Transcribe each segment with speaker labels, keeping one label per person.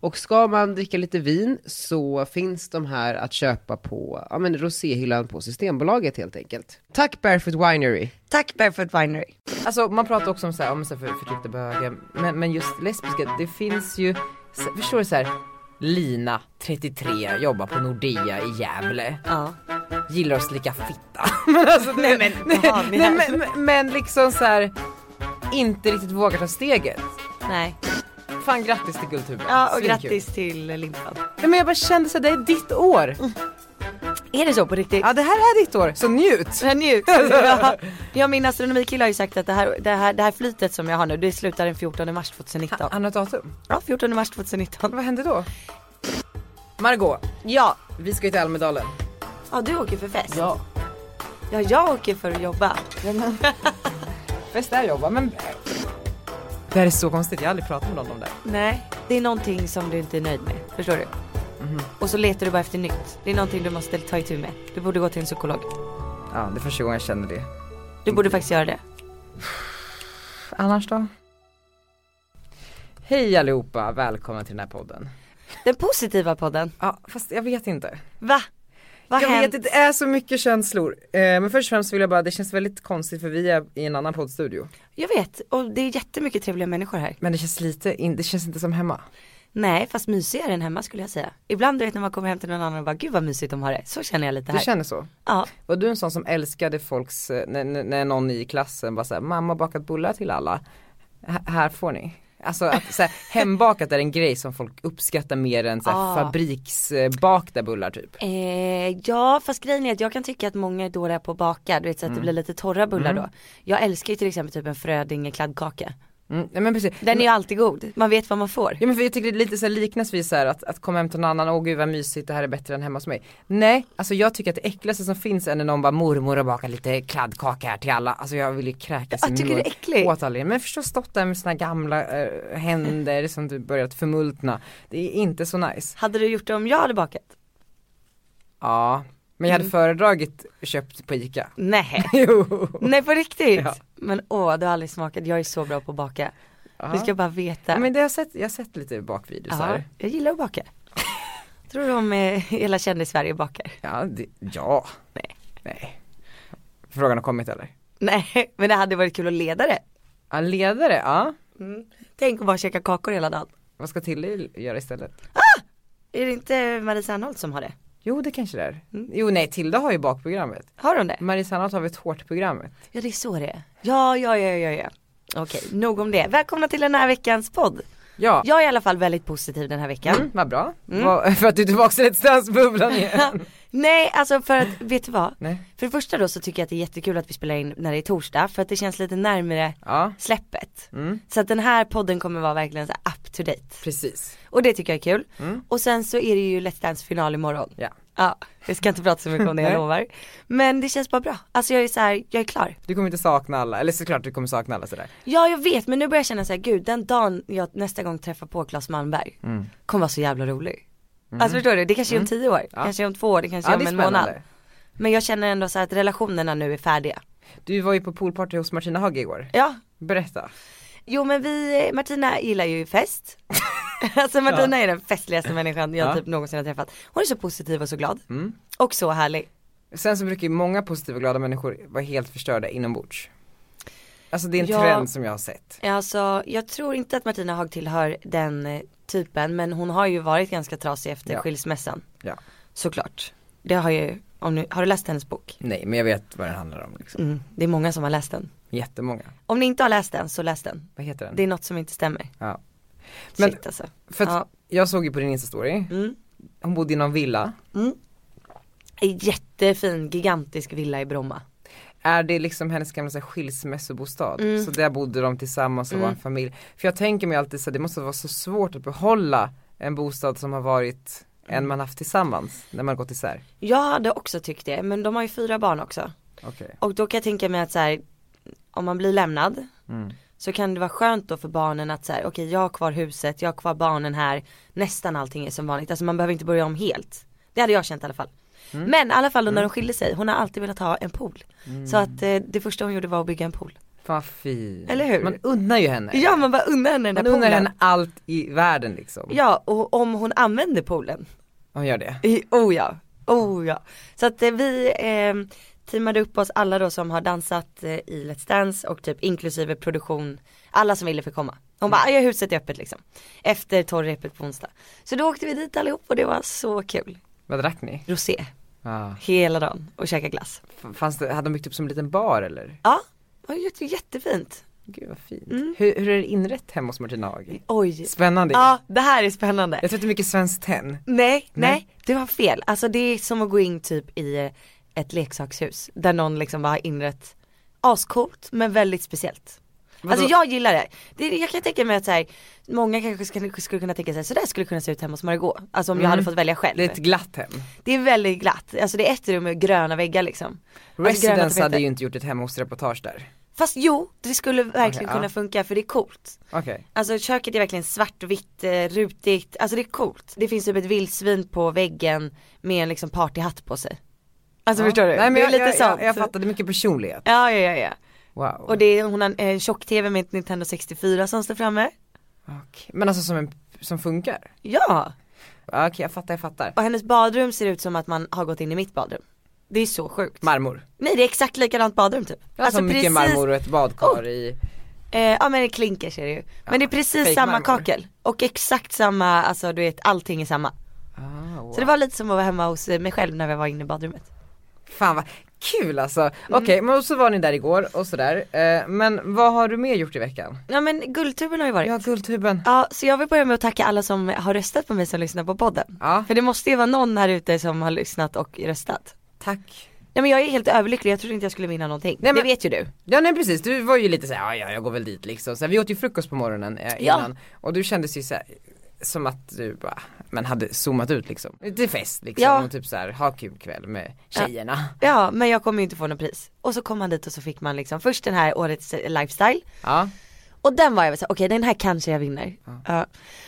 Speaker 1: Och ska man dricka lite vin så finns de här att köpa på ja, men roséhyllan på Systembolaget helt enkelt. Tack Barefoot Winery!
Speaker 2: Tack Barefoot Winery.
Speaker 1: Alltså man pratar också om så här, om så här för, förtryckta bögar, men, men just lesbiska, det finns ju, så- förstår du så här, Lina, 33, jobbar på Nordea i Gävle,
Speaker 2: Ja.
Speaker 1: gillar att slicka fitta. Men alltså, nej, men,
Speaker 2: vad har ni här?
Speaker 1: nej, men, men liksom så här, inte riktigt vågar ta steget.
Speaker 2: Nej.
Speaker 1: Fan grattis till Guldtuben.
Speaker 2: Ja, och
Speaker 1: Svinkul.
Speaker 2: grattis till limpan.
Speaker 1: Nej, men jag bara kände såhär, det är ditt år.
Speaker 2: Mm. Är det så på riktigt?
Speaker 1: Ja det här är ditt år, så njut.
Speaker 2: Jag njuter. Ja. Jag, min astronomikille har ju sagt att det här, det, här, det här flytet som jag har nu, det slutar den 14 mars 2019.
Speaker 1: Annat datum.
Speaker 2: Ja, 14 mars 2019.
Speaker 1: Vad hände då? Margot,
Speaker 2: Ja,
Speaker 1: vi ska ju till Almedalen.
Speaker 2: ja du åker för fest.
Speaker 1: Ja.
Speaker 2: ja, jag åker för att jobba.
Speaker 1: Bäst är jobba men... Det här är så konstigt, jag har aldrig pratat med någon om det.
Speaker 2: Nej, det är någonting som du inte är nöjd med. Förstår du? Och så letar du bara efter nytt. Det är någonting du måste ta itu med. Du borde gå till en psykolog.
Speaker 1: Ja, det är första gången jag känner det.
Speaker 2: Du borde faktiskt göra det.
Speaker 1: Annars då? Hej allihopa, välkomna till den här podden.
Speaker 2: Den positiva podden.
Speaker 1: Ja, fast jag vet inte.
Speaker 2: Va? Vad
Speaker 1: jag
Speaker 2: har hänt?
Speaker 1: vet, det är så mycket känslor. Eh, men först och främst vill jag bara, det känns väldigt konstigt för vi är i en annan poddstudio.
Speaker 2: Jag vet. Och det är jättemycket trevliga människor här.
Speaker 1: Men det känns lite, in, det känns inte som hemma.
Speaker 2: Nej, fast mysigare än hemma skulle jag säga. Ibland du vet när man kommer hem till någon annan och bara gud vad mysigt de har det. Så känner jag lite
Speaker 1: Du
Speaker 2: här.
Speaker 1: känner så?
Speaker 2: Ja.
Speaker 1: Var du en sån som älskade folks, eh, när, när- när någon i klassen bara såhär, mamma har bakat bullar till alla, H- här får ni. Alltså att, så här, hembakat är en grej som folk uppskattar mer än så här,
Speaker 2: Ah.
Speaker 1: fabriksbakta bullar typ.
Speaker 2: Eh, ja fast grejen är att jag kan tycka att många är dåliga på att baka, du vet så att det blir lite torra bullar då. Jag älskar ju till exempel typ en Frödinge kladdkaka.
Speaker 1: Mm, nej, men precis.
Speaker 2: Den är ju alltid god, man vet vad man får.
Speaker 1: Ja men för jag tycker det är lite så här liknas vid så här att, att komma hem till någon annan, åh gud vad mysigt det här är bättre än hemma hos mig. Nej, alltså jag tycker att det äckligaste som finns är när någon bara mormor har bakat lite kladdkaka här till alla. Alltså jag vill ju kräkas
Speaker 2: Jag tycker det är äckligt.
Speaker 1: åt alla. Men förstås stått där med sina gamla eh, händer som du börjat förmultna. Det är inte så nice.
Speaker 2: Hade du gjort det om jag hade bakat?
Speaker 1: Ja, men jag
Speaker 2: Mm.
Speaker 1: hade föredragit köpt på ICA.
Speaker 2: Nej.
Speaker 1: Jo.
Speaker 2: Nej på riktigt?
Speaker 1: Ja.
Speaker 2: Men åh du har aldrig smakat, jag är så bra på att baka.
Speaker 1: Ja.
Speaker 2: Du ska bara veta.
Speaker 1: Ja, men det har jag, sett, jag har sett lite bakvideosar.
Speaker 2: ja, jag gillar att baka. Tror du om eh, hela kändis-Sverige bakar?
Speaker 1: Ja, det, ja.
Speaker 2: Nej.
Speaker 1: Nej. Frågan har kommit eller?
Speaker 2: Nej men det hade varit kul att leda det.
Speaker 1: Ja, ledare, ja.
Speaker 2: Tänk att bara käka kakor hela dagen.
Speaker 1: Vad ska Tilly göra istället?
Speaker 2: Är det inte Marie Serneholt som har det?
Speaker 1: Jo det kanske det är. Jo nej Tilda har ju bakprogrammet.
Speaker 2: Har hon det?
Speaker 1: Marie Serneholt har väl ett hårt programmet.
Speaker 2: Ja det är så det är. Ja, ja, ja, ja, ja. Okej, nog om det. Välkomna till den här veckans podd.
Speaker 1: Ja,
Speaker 2: Jag är i alla fall väldigt positiv den här veckan.
Speaker 1: Mm, vad bra. Vad- för att du är tillbaka till distansbubblan igen.
Speaker 2: Nej, alltså för att, vet du vad?
Speaker 1: Nej.
Speaker 2: För det första då så tycker jag att det är jättekul att vi spelar in när det är torsdag för att det känns lite närmare
Speaker 1: Ja, Mm.
Speaker 2: släppet. Så att den här podden kommer vara verkligen så här up to date.
Speaker 1: precis. Mm.
Speaker 2: Och det tycker jag är kul. Och sen så är det ju Let's Dance final imorgon.
Speaker 1: Ja.
Speaker 2: Ja, jag ska inte prata så mycket om det jag
Speaker 1: Nej.
Speaker 2: lovar. Men det känns bara bra. Alltså jag är så här, jag är klar.
Speaker 1: Du kommer inte sakna alla, eller såklart du kommer sakna alla sådär.
Speaker 2: Ja jag vet men nu börjar jag känna såhär, gud den dagen jag nästa gång träffar på Claes Malmberg
Speaker 1: Mm.
Speaker 2: kommer vara så jävla rolig. Alltså förstår du, det kanske är om tio år, kanske är om två år, det kanske
Speaker 1: Ja
Speaker 2: är
Speaker 1: det
Speaker 2: om
Speaker 1: är
Speaker 2: en månad.
Speaker 1: spännande.
Speaker 2: Men jag känner ändå så här att relationerna nu är färdiga.
Speaker 1: Du var ju på poolparty hos Martina Haag igår.
Speaker 2: Ja,
Speaker 1: Berätta.
Speaker 2: jo men vi, Martina gillar ju fest. alltså Martina är den festligaste människan jag
Speaker 1: Ja. Mm.
Speaker 2: typ någonsin har träffat. Hon är så positiv och så glad. Och så härlig.
Speaker 1: Sen så brukar ju många positiva och glada människor vara helt förstörda inombords. Alltså det är en
Speaker 2: Ja.
Speaker 1: trend som jag har sett.
Speaker 2: Alltså jag tror inte att Martina Haag tillhör den eh, typen men hon har ju varit ganska trasig efter
Speaker 1: Ja.
Speaker 2: skilsmässan.
Speaker 1: Ja.
Speaker 2: Såklart. Det har ju Om ni, har du läst hennes bok?
Speaker 1: Nej men jag vet vad den handlar om liksom.
Speaker 2: Mm. Det är många som har läst den.
Speaker 1: Jättemånga.
Speaker 2: Om ni inte har läst den så läs den.
Speaker 1: Vad heter den?
Speaker 2: Det är något som inte stämmer.
Speaker 1: Ja. Men-
Speaker 2: Men, Shit alltså.
Speaker 1: För att
Speaker 2: Ja.
Speaker 1: jag såg ju på din instastory,
Speaker 2: Mm.
Speaker 1: hon bodde i någon villa.
Speaker 2: En jättefin, gigantisk villa i Bromma.
Speaker 1: Är det liksom hennes gamla så här, skilsmässobostad?
Speaker 2: Mm.
Speaker 1: Så där bodde de tillsammans och var en familj. För jag tänker mig alltid så här, det måste vara så svårt att behålla en bostad som har varit en
Speaker 2: Mm.
Speaker 1: man haft tillsammans när man gått isär.
Speaker 2: Jag hade också tyckt det, men de har ju fyra barn också.
Speaker 1: Okej.
Speaker 2: Och då kan jag tänka mig att så här, om man blir lämnad
Speaker 1: Mm.
Speaker 2: så kan det vara skönt då för barnen att så här, okej jag har kvar huset, jag har kvar barnen här, nästan allting är som vanligt, alltså man behöver inte börja om helt. Det hade jag känt i alla fall.
Speaker 1: Mm.
Speaker 2: Men i alla fall då när de skilde sig, hon har alltid velat ha en pool. Så att eh, det första hon gjorde var att bygga en pool.
Speaker 1: Fan vad fint.
Speaker 2: Eller hur?
Speaker 1: Man unnar ju henne.
Speaker 2: Ja man bara unnar henne den
Speaker 1: man
Speaker 2: där
Speaker 1: unnar
Speaker 2: poolen.
Speaker 1: henne allt i världen liksom.
Speaker 2: Ja och om hon använder poolen.
Speaker 1: Hon gör det.
Speaker 2: I- Oh ja, oh ja. Så att eh, vi eh, teamade upp oss alla då som har dansat eh, i Let's Dance och typ inklusive produktion, alla som ville fick komma. Hon bara, ja huset är öppet liksom. Efter torrrepet på onsdag. Så då åkte vi dit allihop och det var så kul.
Speaker 1: Vad drack ni?
Speaker 2: Rosé,
Speaker 1: Ah.
Speaker 2: hela dagen och käka glass.
Speaker 1: F- Fanns det, hade de byggt upp som en liten bar eller?
Speaker 2: Ja, det var jätte- jättefint.
Speaker 1: Gud vad fint. Hur, hur är det inrätt hemma hos Martina Haag?
Speaker 2: Oj.
Speaker 1: Spännande.
Speaker 2: Mm. Ja, det här är spännande.
Speaker 1: Jag tror att det är mycket svenskt tenn.
Speaker 2: Nej,
Speaker 1: Nej.
Speaker 2: nej, du har fel. Alltså det är som att gå in typ i eh, ett leksakshus där någon liksom bara har inrett ascoolt men väldigt speciellt. Alltså jag gillar det. det. Jag kan tänka mig att så här, många kanske skulle, skulle kunna tänka sig så där skulle det kunna se ut hemma hos Margot. Alltså om jag hade fått välja själv.
Speaker 1: Mm. Det är ett glatt hem.
Speaker 2: Det är väldigt glatt. Alltså det är ett rum med gröna väggar liksom. Alltså, gröna
Speaker 1: Residence hade
Speaker 2: tapeter.
Speaker 1: ju inte gjort ett hemma hos-reportage där.
Speaker 2: Fast jo, det skulle verkligen
Speaker 1: Okej, ja.
Speaker 2: kunna funka för det är coolt.
Speaker 1: Okej.
Speaker 2: Alltså köket är verkligen svartvitt, eh, rutigt, alltså det är coolt. Det finns typ ett vildsvin på väggen med en liksom partyhatt på sig. Alltså förstår du?
Speaker 1: Nej, men
Speaker 2: det
Speaker 1: jag,
Speaker 2: är lite
Speaker 1: jag, jag,
Speaker 2: sånt.
Speaker 1: jag fattade mycket personlighet.
Speaker 2: Ja, ja, ja, ja.
Speaker 1: Wow.
Speaker 2: Och det är, hon har en eh, tjock-tv med ett Nintendo 64 som står framme.
Speaker 1: Okej. Men alltså som, en, som funkar?
Speaker 2: Ja,
Speaker 1: Ja, Okej jag fattar, jag fattar.
Speaker 2: och hennes badrum ser ut som att man har gått in i mitt badrum. Det är så sjukt.
Speaker 1: Marmor.
Speaker 2: Nej det är exakt likadant badrum typ.
Speaker 1: Jag alltså, Oh. mycket marmor och ett badkar i.
Speaker 2: Eh, ja men det klinkar ser det ju. Men det är
Speaker 1: fake
Speaker 2: precis samma
Speaker 1: marmor.
Speaker 2: kakel. Och exakt samma, alltså du vet allting är samma.
Speaker 1: Ah, wow.
Speaker 2: Så det var lite som att vara hemma hos eh, mig själv när vi var inne i badrummet.
Speaker 1: Fan vad kul alltså. Okej men så var ni där igår och sådär. Eh, men vad har du mer gjort i veckan?
Speaker 2: Ja men guldtuben har ju varit.
Speaker 1: Ja
Speaker 2: Ja.
Speaker 1: Guldtuben.
Speaker 2: så jag vill börja med att tacka alla som har röstat på mig som lyssnar på podden.
Speaker 1: Ja,
Speaker 2: För det måste ju vara någon här ute som har lyssnat och röstat.
Speaker 1: tack.
Speaker 2: Nej men jag är helt överlycklig, jag trodde inte jag skulle vinna någonting.
Speaker 1: Nej, men-
Speaker 2: Det vet ju du.
Speaker 1: Ja nej precis, du var ju lite såhär, ja ja jag går väl dit liksom. Så här, vi åt ju frukost på morgonen eh, innan och du kändes ju såhär som att du bara, men hade zoomat ut liksom. Till fest liksom
Speaker 2: Ja.
Speaker 1: och typ såhär, ha kul kväll med tjejerna.
Speaker 2: Ja men jag kommer ju inte få något pris. Och så kom man dit och så fick man liksom först den här årets eh, lifestyle.
Speaker 1: Ja.
Speaker 2: Och den var jag väl såhär, okej den här kanske jag vinner. Ja.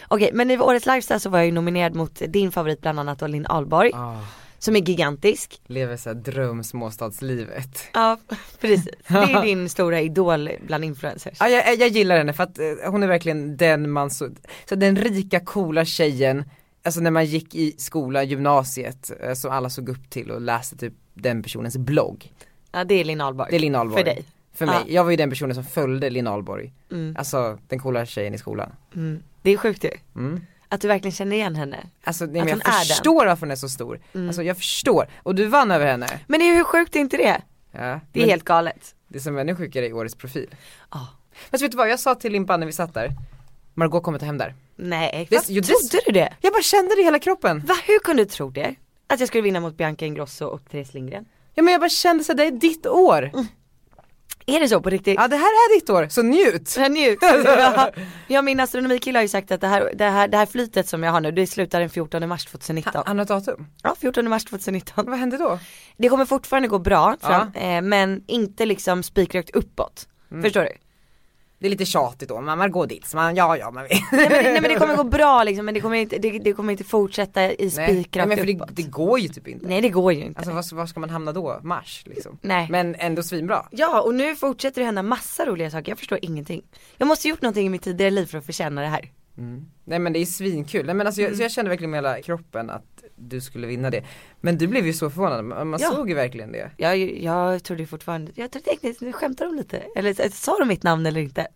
Speaker 2: Okej men i årets lifestyle så var jag ju nominerad mot din favorit bland annat då Linn Ahlborg.
Speaker 1: Ah,
Speaker 2: Som är gigantisk.
Speaker 1: lever såhär dröm småstadslivet.
Speaker 2: Ja precis, det är din stora idol bland influencers.
Speaker 1: Ja, jag, jag gillar henne för att eh, hon är verkligen den man så, så den rika coola tjejen, alltså när man gick i skolan, gymnasiet, eh, som alla såg upp till och läste typ den personens blogg.
Speaker 2: Ja det är Linn Ahlborg.
Speaker 1: Det är Linn Ahlborg.
Speaker 2: För dig.
Speaker 1: För mig,
Speaker 2: Ja.
Speaker 1: jag var ju den personen som följde Linn Ahlborg.
Speaker 2: Mm.
Speaker 1: Alltså den coola tjejen i skolan.
Speaker 2: Mm. Det är sjukt ju.
Speaker 1: Mm.
Speaker 2: Att du verkligen känner igen henne.
Speaker 1: Alltså nej,
Speaker 2: Att
Speaker 1: men jag
Speaker 2: hon är den. Mm.
Speaker 1: förstår varför hon är så stor. Alltså jag förstår. Och du vann över henne.
Speaker 2: Men det är- hur sjukt är inte det?
Speaker 1: Ja.
Speaker 2: Det är
Speaker 1: Men
Speaker 2: helt galet.
Speaker 1: det som är ännu sjukare är årets profil.
Speaker 2: Ja.
Speaker 1: Fast vet du vad, jag sa till Limpan när vi satt där, Margot kommer ta hem där.
Speaker 2: Nej,
Speaker 1: Det-
Speaker 2: vad
Speaker 1: jo, det-
Speaker 2: trodde du det?
Speaker 1: Jag bara kände det i hela kroppen.
Speaker 2: Va, hur kunde du tro det? Att jag skulle vinna mot Bianca Ingrosso och Therese Lindgren?
Speaker 1: Ja men jag bara kände såhär, det är ditt år.
Speaker 2: Mm. Är det så på riktigt?
Speaker 1: Ja det här är ditt år, så njut!
Speaker 2: Jag njuter. Ja. ja min astronomikille har ju sagt att det här, det, här, det här flytet som jag har nu det slutar den 14 mars 2019.
Speaker 1: Annat datum,
Speaker 2: Ja 14 mars 2019.
Speaker 1: vad hände då?
Speaker 2: Det kommer fortfarande gå bra
Speaker 1: Ja. Mm.
Speaker 2: fram, eh, men inte liksom spikrakt uppåt. Förstår du?
Speaker 1: Det är lite tjatigt då, man, man går dit, så man, ja ja man vet.
Speaker 2: Nej men, det, nej men det kommer gå bra liksom men det kommer inte, det, det kommer inte fortsätta i
Speaker 1: Nej, nej
Speaker 2: spikrakt
Speaker 1: men för det,
Speaker 2: uppåt.
Speaker 1: det går ju typ inte.
Speaker 2: Nej det går ju inte.
Speaker 1: Alltså var, var ska man hamna då? Mars liksom.
Speaker 2: Nej.
Speaker 1: Men ändå svinbra.
Speaker 2: Ja och nu fortsätter det hända massa roliga saker, jag förstår ingenting. Jag måste gjort någonting i mitt tidigare liv för att förtjäna det här.
Speaker 1: Nej men det är svinkul, nej men alltså jag, så
Speaker 2: Mm.
Speaker 1: jag kände verkligen med hela kroppen att du skulle vinna det. Men du blev ju så förvånad, man, man
Speaker 2: Ja.
Speaker 1: såg ju verkligen det.
Speaker 2: Jag, jag trodde ju fortfarande, jag trodde tekniskt, nu skämtar de lite. Eller så- sa de mitt namn eller inte?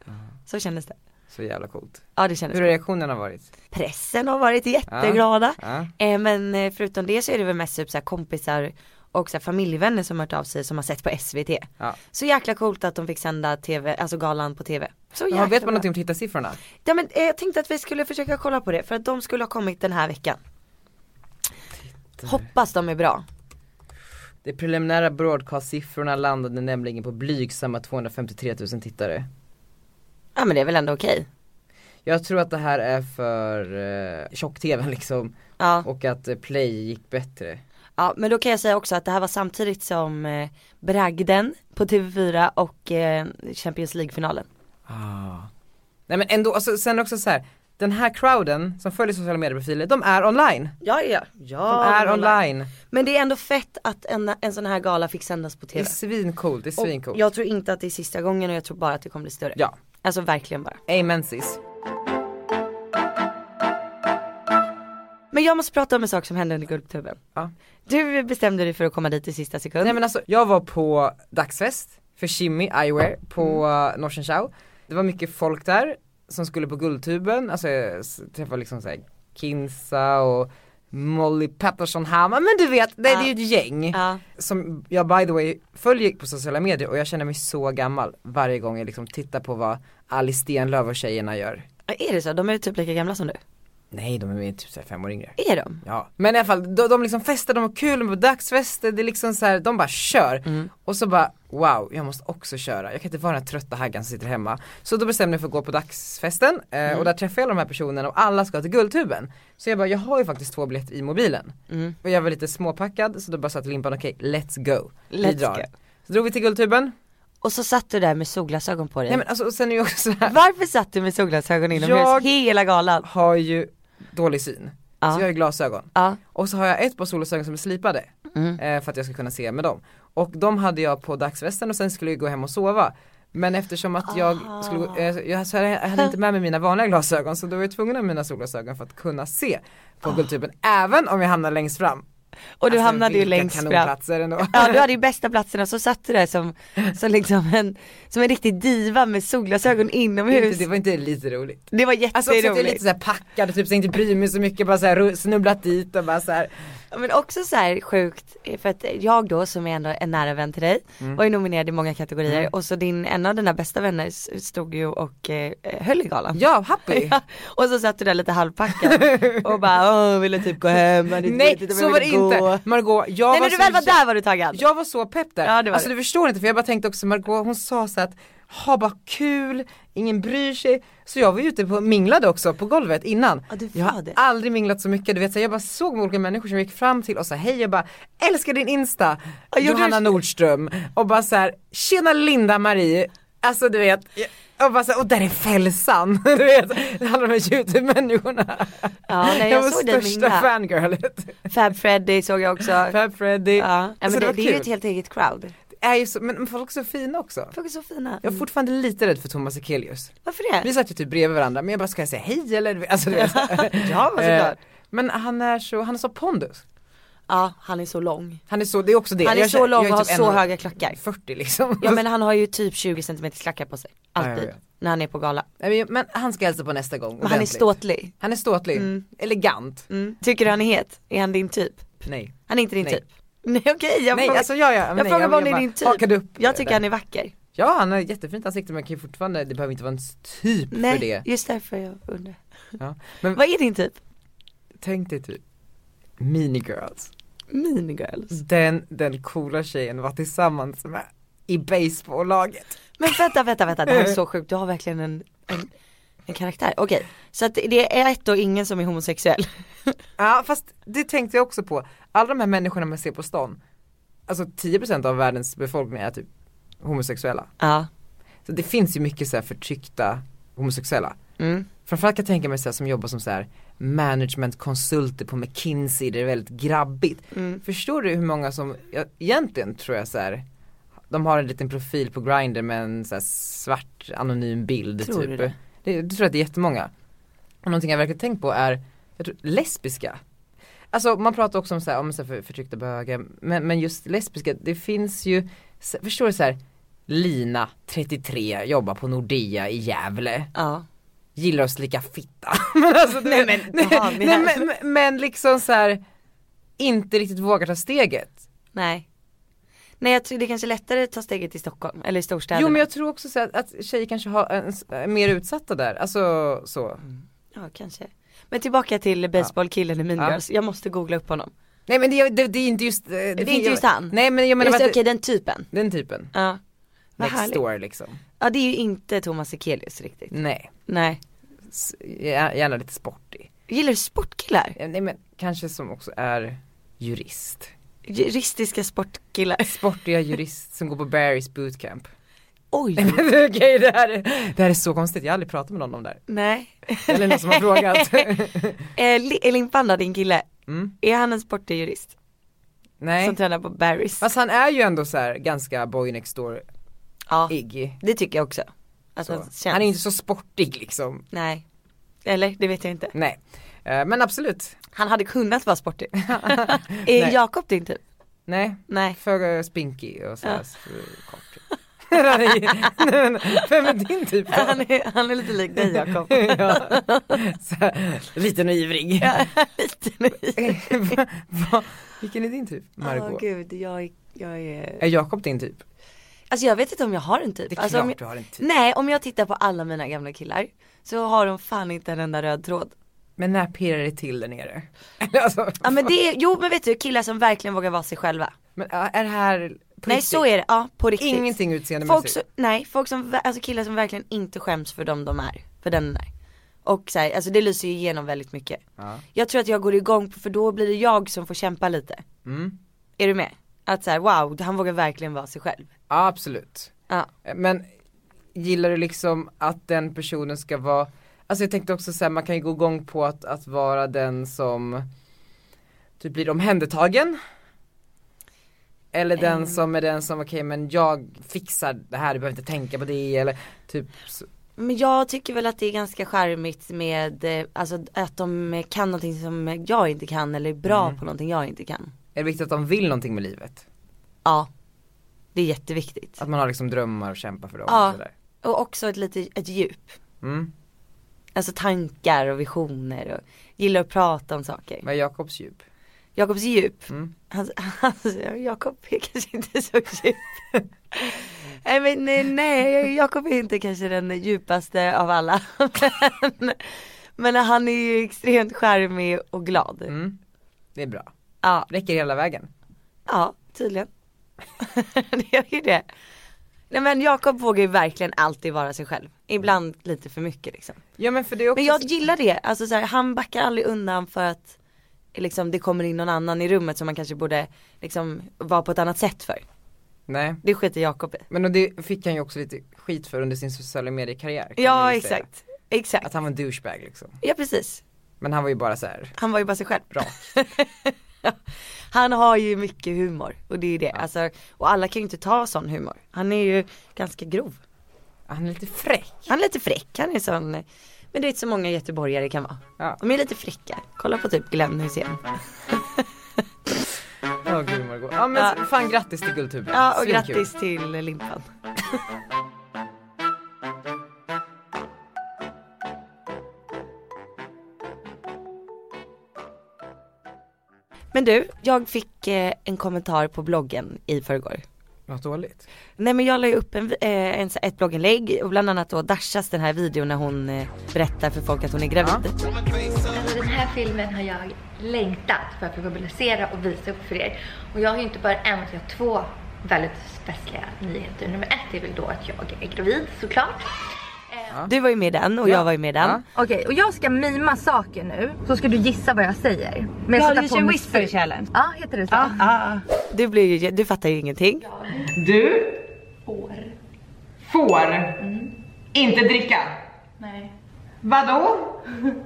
Speaker 2: Så kändes det.
Speaker 1: Så jävla coolt.
Speaker 2: Ja det kändes
Speaker 1: Hur har reaktionerna varit?
Speaker 2: bra. Pressen har varit jätteglada.
Speaker 1: Ja.
Speaker 2: Eh, men eh, förutom det så är det väl mest typ så här kompisar och så här, familjevänner som hört av sig som har sett på SVT.
Speaker 1: Ja.
Speaker 2: Så jäkla coolt att de fick sända TV, alltså galan på TV. Så
Speaker 1: Ja,
Speaker 2: jäkla
Speaker 1: vet
Speaker 2: bra.
Speaker 1: man någonting om tittarsiffrorna?
Speaker 2: Ja men eh, jag tänkte att vi skulle försöka kolla på det för att de skulle ha kommit den här veckan. Hoppas de är bra.
Speaker 1: De preliminära broadcast-siffrorna landade nämligen på blygsamma 253 000 tittare.
Speaker 2: Ja men det är väl ändå okej.
Speaker 1: Jag tror att det här är för eh, tjock-tvn liksom
Speaker 2: Ja.
Speaker 1: och att eh, play gick bättre.
Speaker 2: ja men då kan jag säga också att det här var samtidigt som eh, bragden på TV4 och eh, Champions League-finalen.
Speaker 1: Ah. Nej men ändå, alltså, sen också så här. den här crowden som följer sociala medieprofiler, de är online.
Speaker 2: Ja ja, ja.
Speaker 1: De är online.
Speaker 2: Men det är ändå fett att en, en sån här gala fick sändas på
Speaker 1: Det är
Speaker 2: TV.
Speaker 1: svincoolt, det är
Speaker 2: Och
Speaker 1: svincoolt.
Speaker 2: jag tror inte att det är sista gången och jag tror bara att det kommer bli större.
Speaker 1: Ja,
Speaker 2: Alltså verkligen bara.
Speaker 1: amen sis.
Speaker 2: Men jag måste prata om en sak som hände under Guldtuben.
Speaker 1: Ja.
Speaker 2: Du bestämde dig för att komma dit i sista sekund.
Speaker 1: Nej men alltså, jag var på dagsfest för Shimmy Eyewear på mm. Norsen Chow. Det var mycket folk där som skulle på Guldtuben, alltså jag s- träffade liksom såhär Kinsa och Molly Pettersson Hammar, men du vet, det,
Speaker 2: Ja.
Speaker 1: det är ju ett gäng.
Speaker 2: Ja.
Speaker 1: Som jag by the way följer på sociala medier och jag känner mig så gammal varje gång jag liksom tittar på vad Alice Stenlöf och tjejerna gör.
Speaker 2: Är det så? De är typ lika gamla som du.
Speaker 1: Nej de är ju typ såhär fem år yngre.
Speaker 2: Är de?
Speaker 1: Ja, men i alla fall, de, de liksom festar, de har kul, de har dagsfester, det är liksom så här, de bara kör.
Speaker 2: Mm.
Speaker 1: Och så bara, wow, jag måste också köra, jag kan inte vara den här trötta haggan som sitter hemma. Så då bestämde jag för att gå på dagsfesten eh,
Speaker 2: Mm.
Speaker 1: och där träffade jag alla de här personerna och alla ska till Guldtuben. Så jag bara, jag har ju faktiskt två biljetter i mobilen.
Speaker 2: Mm.
Speaker 1: Och jag var lite småpackad så då bara satt Limpan, okej let's go, vi
Speaker 2: Let's
Speaker 1: drar.
Speaker 2: go.
Speaker 1: Så drog vi till Guldtuben,
Speaker 2: Och så satt du där med solglasögon på dig.
Speaker 1: nej men alltså och sen är ju också så här,
Speaker 2: Varför satt du med solglasögon inomhus
Speaker 1: Jag-
Speaker 2: hela galan?
Speaker 1: har ju dålig syn.
Speaker 2: Ja.
Speaker 1: Så jag har ju glasögon.
Speaker 2: Ja.
Speaker 1: Och så har jag ett par solglasögon som är slipade
Speaker 2: Mm.
Speaker 1: eh, för att jag ska kunna se med dem. Och de hade jag på dagsvästen och sen skulle jag gå hem och sova. Men eftersom att jag skulle,
Speaker 2: Ah.
Speaker 1: gå- eh, jag, så jag hade inte med mig mina vanliga glasögon så då var jag tvungen att ha mina solglasögon för att kunna se på Guldtuben även om jag hamnade längst fram.
Speaker 2: Ah. Och du
Speaker 1: Alltså,
Speaker 2: hamnade ju
Speaker 1: vilka
Speaker 2: längst fram.
Speaker 1: kanonplatser ändå.
Speaker 2: Ja du hade ju bästa platsen och så satt du där som, som liksom en, som en riktig diva med solglasögon inomhus.
Speaker 1: Det var inte lite roligt.
Speaker 2: Det var
Speaker 1: Alltså också att
Speaker 2: jätteroligt.
Speaker 1: jag är lite såhär packad, typ så jag inte bryr mig så mycket, bara såhär snubblat dit och bara såhär
Speaker 2: Ja, Men också så här sjukt, eh, för att jag då som är ändå en nära vän till dig
Speaker 1: Mm.
Speaker 2: var ju nominerad i många kategorier och så din, en av dina bästa vänner s- stod ju och eh, höll i galan.
Speaker 1: ja, happy.
Speaker 2: Ja, och så satt du där lite halvpackad och bara åh, ville typ gå hem, hade inte
Speaker 1: Nej
Speaker 2: vetat om
Speaker 1: så
Speaker 2: jag
Speaker 1: var det
Speaker 2: ville gå."
Speaker 1: inte, Margot jag
Speaker 2: Nej
Speaker 1: var
Speaker 2: när du
Speaker 1: så
Speaker 2: väl var
Speaker 1: jä-
Speaker 2: där var du taggad.
Speaker 1: Jag var så pepp där,
Speaker 2: Ja, det var
Speaker 1: alltså
Speaker 2: det.
Speaker 1: du förstår inte för jag bara tänkte också Margot hon sa så att ha bara kul, ingen bryr sig. Så jag var ju ute på, minglade också på golvet innan.
Speaker 2: Ja, du
Speaker 1: jag
Speaker 2: var
Speaker 1: har
Speaker 2: det.
Speaker 1: aldrig minglat så mycket, du vet så här, jag bara såg olika människor som gick fram till och sa hej jag bara älskar din Insta,
Speaker 2: Ja, gjorde
Speaker 1: Johanna
Speaker 2: du-
Speaker 1: Nordström och bara så här tjena Linda Marie, alltså du vet och bara så här, och där är Fällsan, du vet alla de här Youtube-människorna.
Speaker 2: Ja, nej, jag
Speaker 1: var
Speaker 2: såg dig
Speaker 1: största
Speaker 2: mingla.
Speaker 1: fangirlet.
Speaker 2: Fab Freddy såg jag också. Ja.
Speaker 1: Fab Freddy.
Speaker 2: Ja, men
Speaker 1: Så
Speaker 2: det, det,
Speaker 1: var
Speaker 2: är ju
Speaker 1: kul.
Speaker 2: ett helt eget crowd.
Speaker 1: Det är ju så, men men folk är så fina också.
Speaker 2: Folk är så fina.
Speaker 1: Jag är fortfarande lite rädd för Thomas Ekelius.
Speaker 2: Varför det?
Speaker 1: Vi satt ju typ bredvid varandra men jag bara, ska jag säga hej eller? du vet, Alltså, du vet.
Speaker 2: Ja, men såklart.
Speaker 1: Eh, Men han är så, han har så pondus.
Speaker 2: Ja, han är så lång.
Speaker 1: Han är så, det är också det.
Speaker 2: Han är
Speaker 1: Jag-
Speaker 2: så lång
Speaker 1: jag är
Speaker 2: och har
Speaker 1: typ
Speaker 2: så
Speaker 1: en-
Speaker 2: höga klackar.
Speaker 1: 40 liksom.
Speaker 2: Ja men han har ju typ 20 cm klackar på sig.
Speaker 1: Ja, jag
Speaker 2: Alltid.
Speaker 1: vet.
Speaker 2: när han är på gala.
Speaker 1: Nej, men- Men han ska hälsa på nästa gång.
Speaker 2: Men han är Mm.
Speaker 1: ordentligt.
Speaker 2: ståtlig.
Speaker 1: Han är ståtlig. Elegant.
Speaker 2: Tycker du han är het? Är han din typ?
Speaker 1: Nej.
Speaker 2: Han är inte din
Speaker 1: Mm. Nej.
Speaker 2: typ? Nej okej, jag
Speaker 1: Nej
Speaker 2: frågar,
Speaker 1: alltså jag, jag,
Speaker 2: jag
Speaker 1: nej,
Speaker 2: frågar bara om det är
Speaker 1: bara
Speaker 2: din typ.
Speaker 1: hakade upp
Speaker 2: jag tycker
Speaker 1: där.
Speaker 2: han är vacker.
Speaker 1: Ja han har jättefint ansikte men kan ju fortfarande, det behöver inte vara ens typ
Speaker 2: Nej,
Speaker 1: för det.
Speaker 2: just därför jag undrar.
Speaker 1: Ja. Men
Speaker 2: Vad är din typ?
Speaker 1: tänk dig typ, minigirls.
Speaker 2: Mean girls.
Speaker 1: den, den coola tjejen var tillsammans med i baseballlaget.
Speaker 2: Men vänta, vänta, vänta, det här är så sjukt. Du har verkligen en, en, en karaktär. Okej, så att det är ett och ingen som är homosexuell.
Speaker 1: Ja fast det tänkte jag också på, alla de här människorna man ser på stan, alltså 10% av världens befolkning är typ homosexuella.
Speaker 2: Ja.
Speaker 1: Så det finns ju mycket så här förtryckta homosexuella.
Speaker 2: Mm.
Speaker 1: Framförallt kan jag tänka mig så här, som jobbar som så här managementkonsulter på McKinsey där det är väldigt grabbigt.
Speaker 2: Mm.
Speaker 1: Förstår du hur många som, ja, egentligen tror jag så här, de har en liten profil på Grindr med en så här svart anonym bild
Speaker 2: Tror
Speaker 1: typ.
Speaker 2: du det?
Speaker 1: Det, jag tror att det är jättemånga. Och någonting jag verkligen tänkt på är, jag tror, lesbiska. Alltså man pratar också om, så här, om så här för, förtryckta bögar, men, men just lesbiska, det finns ju, så- förstår du så här, Lina, 33, jobbar på Nordea i Gävle
Speaker 2: Ja.
Speaker 1: gillar att slicka fitta. men alltså, du
Speaker 2: Nej,
Speaker 1: vet-
Speaker 2: men, fan, det
Speaker 1: nej,
Speaker 2: här-
Speaker 1: men, men, men liksom så här inte riktigt vågar ta steget.
Speaker 2: Nej. Nej jag tror det är kanske är lättare att ta steget till Stockholm eller i storstäderna.
Speaker 1: Jo men jag tror också så att, att tjejer kanske har en, är mer utsatta där, alltså så.
Speaker 2: Mm. Ja kanske. Men tillbaka till baseballkillen i Mean
Speaker 1: Ja.
Speaker 2: Girls. Jag måste googla upp honom.
Speaker 1: Nej men det, det, det är inte just eh, Det,
Speaker 2: är inte just han.
Speaker 1: Nej men jag menar
Speaker 2: Just
Speaker 1: bara
Speaker 2: alltså, okej
Speaker 1: att
Speaker 2: den typen.
Speaker 1: den typen.
Speaker 2: Ja. Vad
Speaker 1: Next
Speaker 2: härligt.
Speaker 1: door liksom.
Speaker 2: Ja det är ju inte Thomas Sekelius riktigt.
Speaker 1: Nej,
Speaker 2: Nej.
Speaker 1: S- gär- gärna lite sportig.
Speaker 2: Gillar du sportkillar?
Speaker 1: Eh, Nej men kanske som också är jurist.
Speaker 2: Juristiska sportkillar.
Speaker 1: Sportiga jurist som går på Barry's bootcamp.
Speaker 2: Oj.
Speaker 1: Nej men okej det, här är, det här är så konstigt, jag har aldrig pratat med någon om det här.
Speaker 2: Nej.
Speaker 1: Eller någon som har frågat.
Speaker 2: Eh, Li- eh, Limpan då, din kille.
Speaker 1: Mm.
Speaker 2: Är han en sportig jurist? Som
Speaker 1: Nej.
Speaker 2: tränar på Barry's?
Speaker 1: Fast han är ju ändå så här ganska boy next door-iggy.
Speaker 2: Ja. Det tycker jag också. Att han känns.
Speaker 1: Så. Han är inte så sportig liksom.
Speaker 2: Nej. Eller det vet jag inte.
Speaker 1: Nej. Eh, Men absolut.
Speaker 2: Han hade kunnat vara sportig. är
Speaker 1: Nej.
Speaker 2: Jakob din typ?
Speaker 1: Nej.
Speaker 2: Nej.
Speaker 1: För eh, spinkig och så här
Speaker 2: Ja.
Speaker 1: så kort. Han är- Vem är din typ då?
Speaker 2: Han är, han är lite lik dig Jakob.
Speaker 1: ja. så här, liten och ivrig.
Speaker 2: Lite lik.
Speaker 1: Va- va- Vilken är din typ? Eh, Margot?
Speaker 2: Åh gud, jag är, jag är...
Speaker 1: Är Jakob din typ?
Speaker 2: Alltså jag vet inte om jag har en typ.
Speaker 1: Det är
Speaker 2: alltså,
Speaker 1: klart
Speaker 2: om jag...
Speaker 1: du har en typ.
Speaker 2: Nej, om jag tittar på alla mina gamla killar så har de fan inte en enda röd tråd.
Speaker 1: Men när pirrar det till där nere? alltså,
Speaker 2: Ja men det är, jo men vet du killar som verkligen vågar vara sig själva.
Speaker 1: men, ja, är det här på
Speaker 2: Nej
Speaker 1: riktigt?
Speaker 2: så är det, ja på riktigt.
Speaker 1: Ingenting
Speaker 2: Folk
Speaker 1: utseendemässigt?
Speaker 2: som, nej, folk som, ver- alltså killar som verkligen inte skäms för dem de är, för den de är. Och så här, alltså det lyser ju igenom väldigt mycket.
Speaker 1: Ja.
Speaker 2: Jag tror att jag går igång på, för då blir det jag som får kämpa lite.
Speaker 1: Mm.
Speaker 2: Är du med? Att så här, wow, han vågar verkligen vara sig själv.
Speaker 1: Ja, absolut.
Speaker 2: Ja.
Speaker 1: Men gillar du liksom att den personen ska vara, alltså jag tänkte också säga man kan ju gå igång på att, att vara den som typ blir omhändertagen. Eller den
Speaker 2: Ehm.
Speaker 1: som är den som, okej men jag fixar det här, du behöver inte tänka på det eller typ så-
Speaker 2: Men jag tycker väl att det är ganska charmigt med, eh, alltså att de eh, kan någonting som jag inte kan eller är bra
Speaker 1: Mm.
Speaker 2: på någonting jag inte kan.
Speaker 1: Är det viktigt att de vill någonting med livet?
Speaker 2: Ja. Det är jätteviktigt.
Speaker 1: Att man har liksom drömmar och kämpar för dem
Speaker 2: Ja.
Speaker 1: och sådär.
Speaker 2: Och också ett lite, ett djup.
Speaker 1: Mm.
Speaker 2: Alltså tankar och visioner och gillar att prata om saker.
Speaker 1: Vad är Jakobs djup?
Speaker 2: Jakobs djup.
Speaker 1: Mm.
Speaker 2: Hans, hans, Jakob är kanske inte så djup. nej men nej, nej, Jakob är inte kanske den djupaste av alla. men, men han är ju extremt charmig och glad.
Speaker 1: Mm. Det är bra.
Speaker 2: Ja,
Speaker 1: Räcker hela vägen.
Speaker 2: ja, tydligen. det gör ju det. Nej men Jakob vågar ju verkligen alltid vara sig själv. Ibland lite för mycket liksom.
Speaker 1: Ja men för det är också
Speaker 2: Men jag gillar det, alltså så här, han backar aldrig undan för att liksom, det kommer in någon annan i rummet som man kanske borde liksom, vara på ett annat sätt för.
Speaker 1: Nej.
Speaker 2: Det skiter Jakob i.
Speaker 1: Men och det fick han ju också lite skit för under sin sociala mediekarriär. kan man
Speaker 2: Ja
Speaker 1: ju säga.
Speaker 2: exakt, exakt.
Speaker 1: Att han var en douchebag liksom.
Speaker 2: Ja precis,
Speaker 1: Men han var ju bara så här.
Speaker 2: han var ju bara sig själv.
Speaker 1: Bra.
Speaker 2: han har ju mycket humor och det är ju det, alltså, och alla kan ju inte ta sån humor. Han är ju ganska grov.
Speaker 1: han är lite fräck.
Speaker 2: Han är lite fräck, han är sån, men det är inte så många göteborgare kan vara.
Speaker 1: Ja,
Speaker 2: De är lite fräcka, kolla på typ Glenn Hysén.
Speaker 1: åh gud Margot. Ja men
Speaker 2: Ja.
Speaker 1: fan grattis till Guldtuben.
Speaker 2: Ja och
Speaker 1: Svinkul.
Speaker 2: grattis till Limpan. Men du, jag fick eh, en kommentar på bloggen i förrgår.
Speaker 1: Vad dåligt.
Speaker 2: Nej men jag la ju upp en, vi- eh, en, så- ett blogginlägg och bland annat då Dashas den här videon när hon eh, berättar för folk att hon är gravid.
Speaker 3: Alltså den här filmen har jag längtat för att få publicera och visa upp för er. Och jag har ju inte bara en, utan jag har två väldigt speciella nyheter. Nummer ett är väl då att jag är gravid såklart.
Speaker 2: Du var ju med i den och jag var ju med i den.
Speaker 1: Ja.
Speaker 3: Okej, och jag ska mima saker nu, så ska du gissa vad jag säger. Men jag sätter på en whisper challenge. Ja, heter det så?
Speaker 2: Du, blev ju, du fattar ju ingenting.
Speaker 4: Du
Speaker 3: Får.
Speaker 4: får inte dricka.
Speaker 3: Nej.
Speaker 4: Vadå?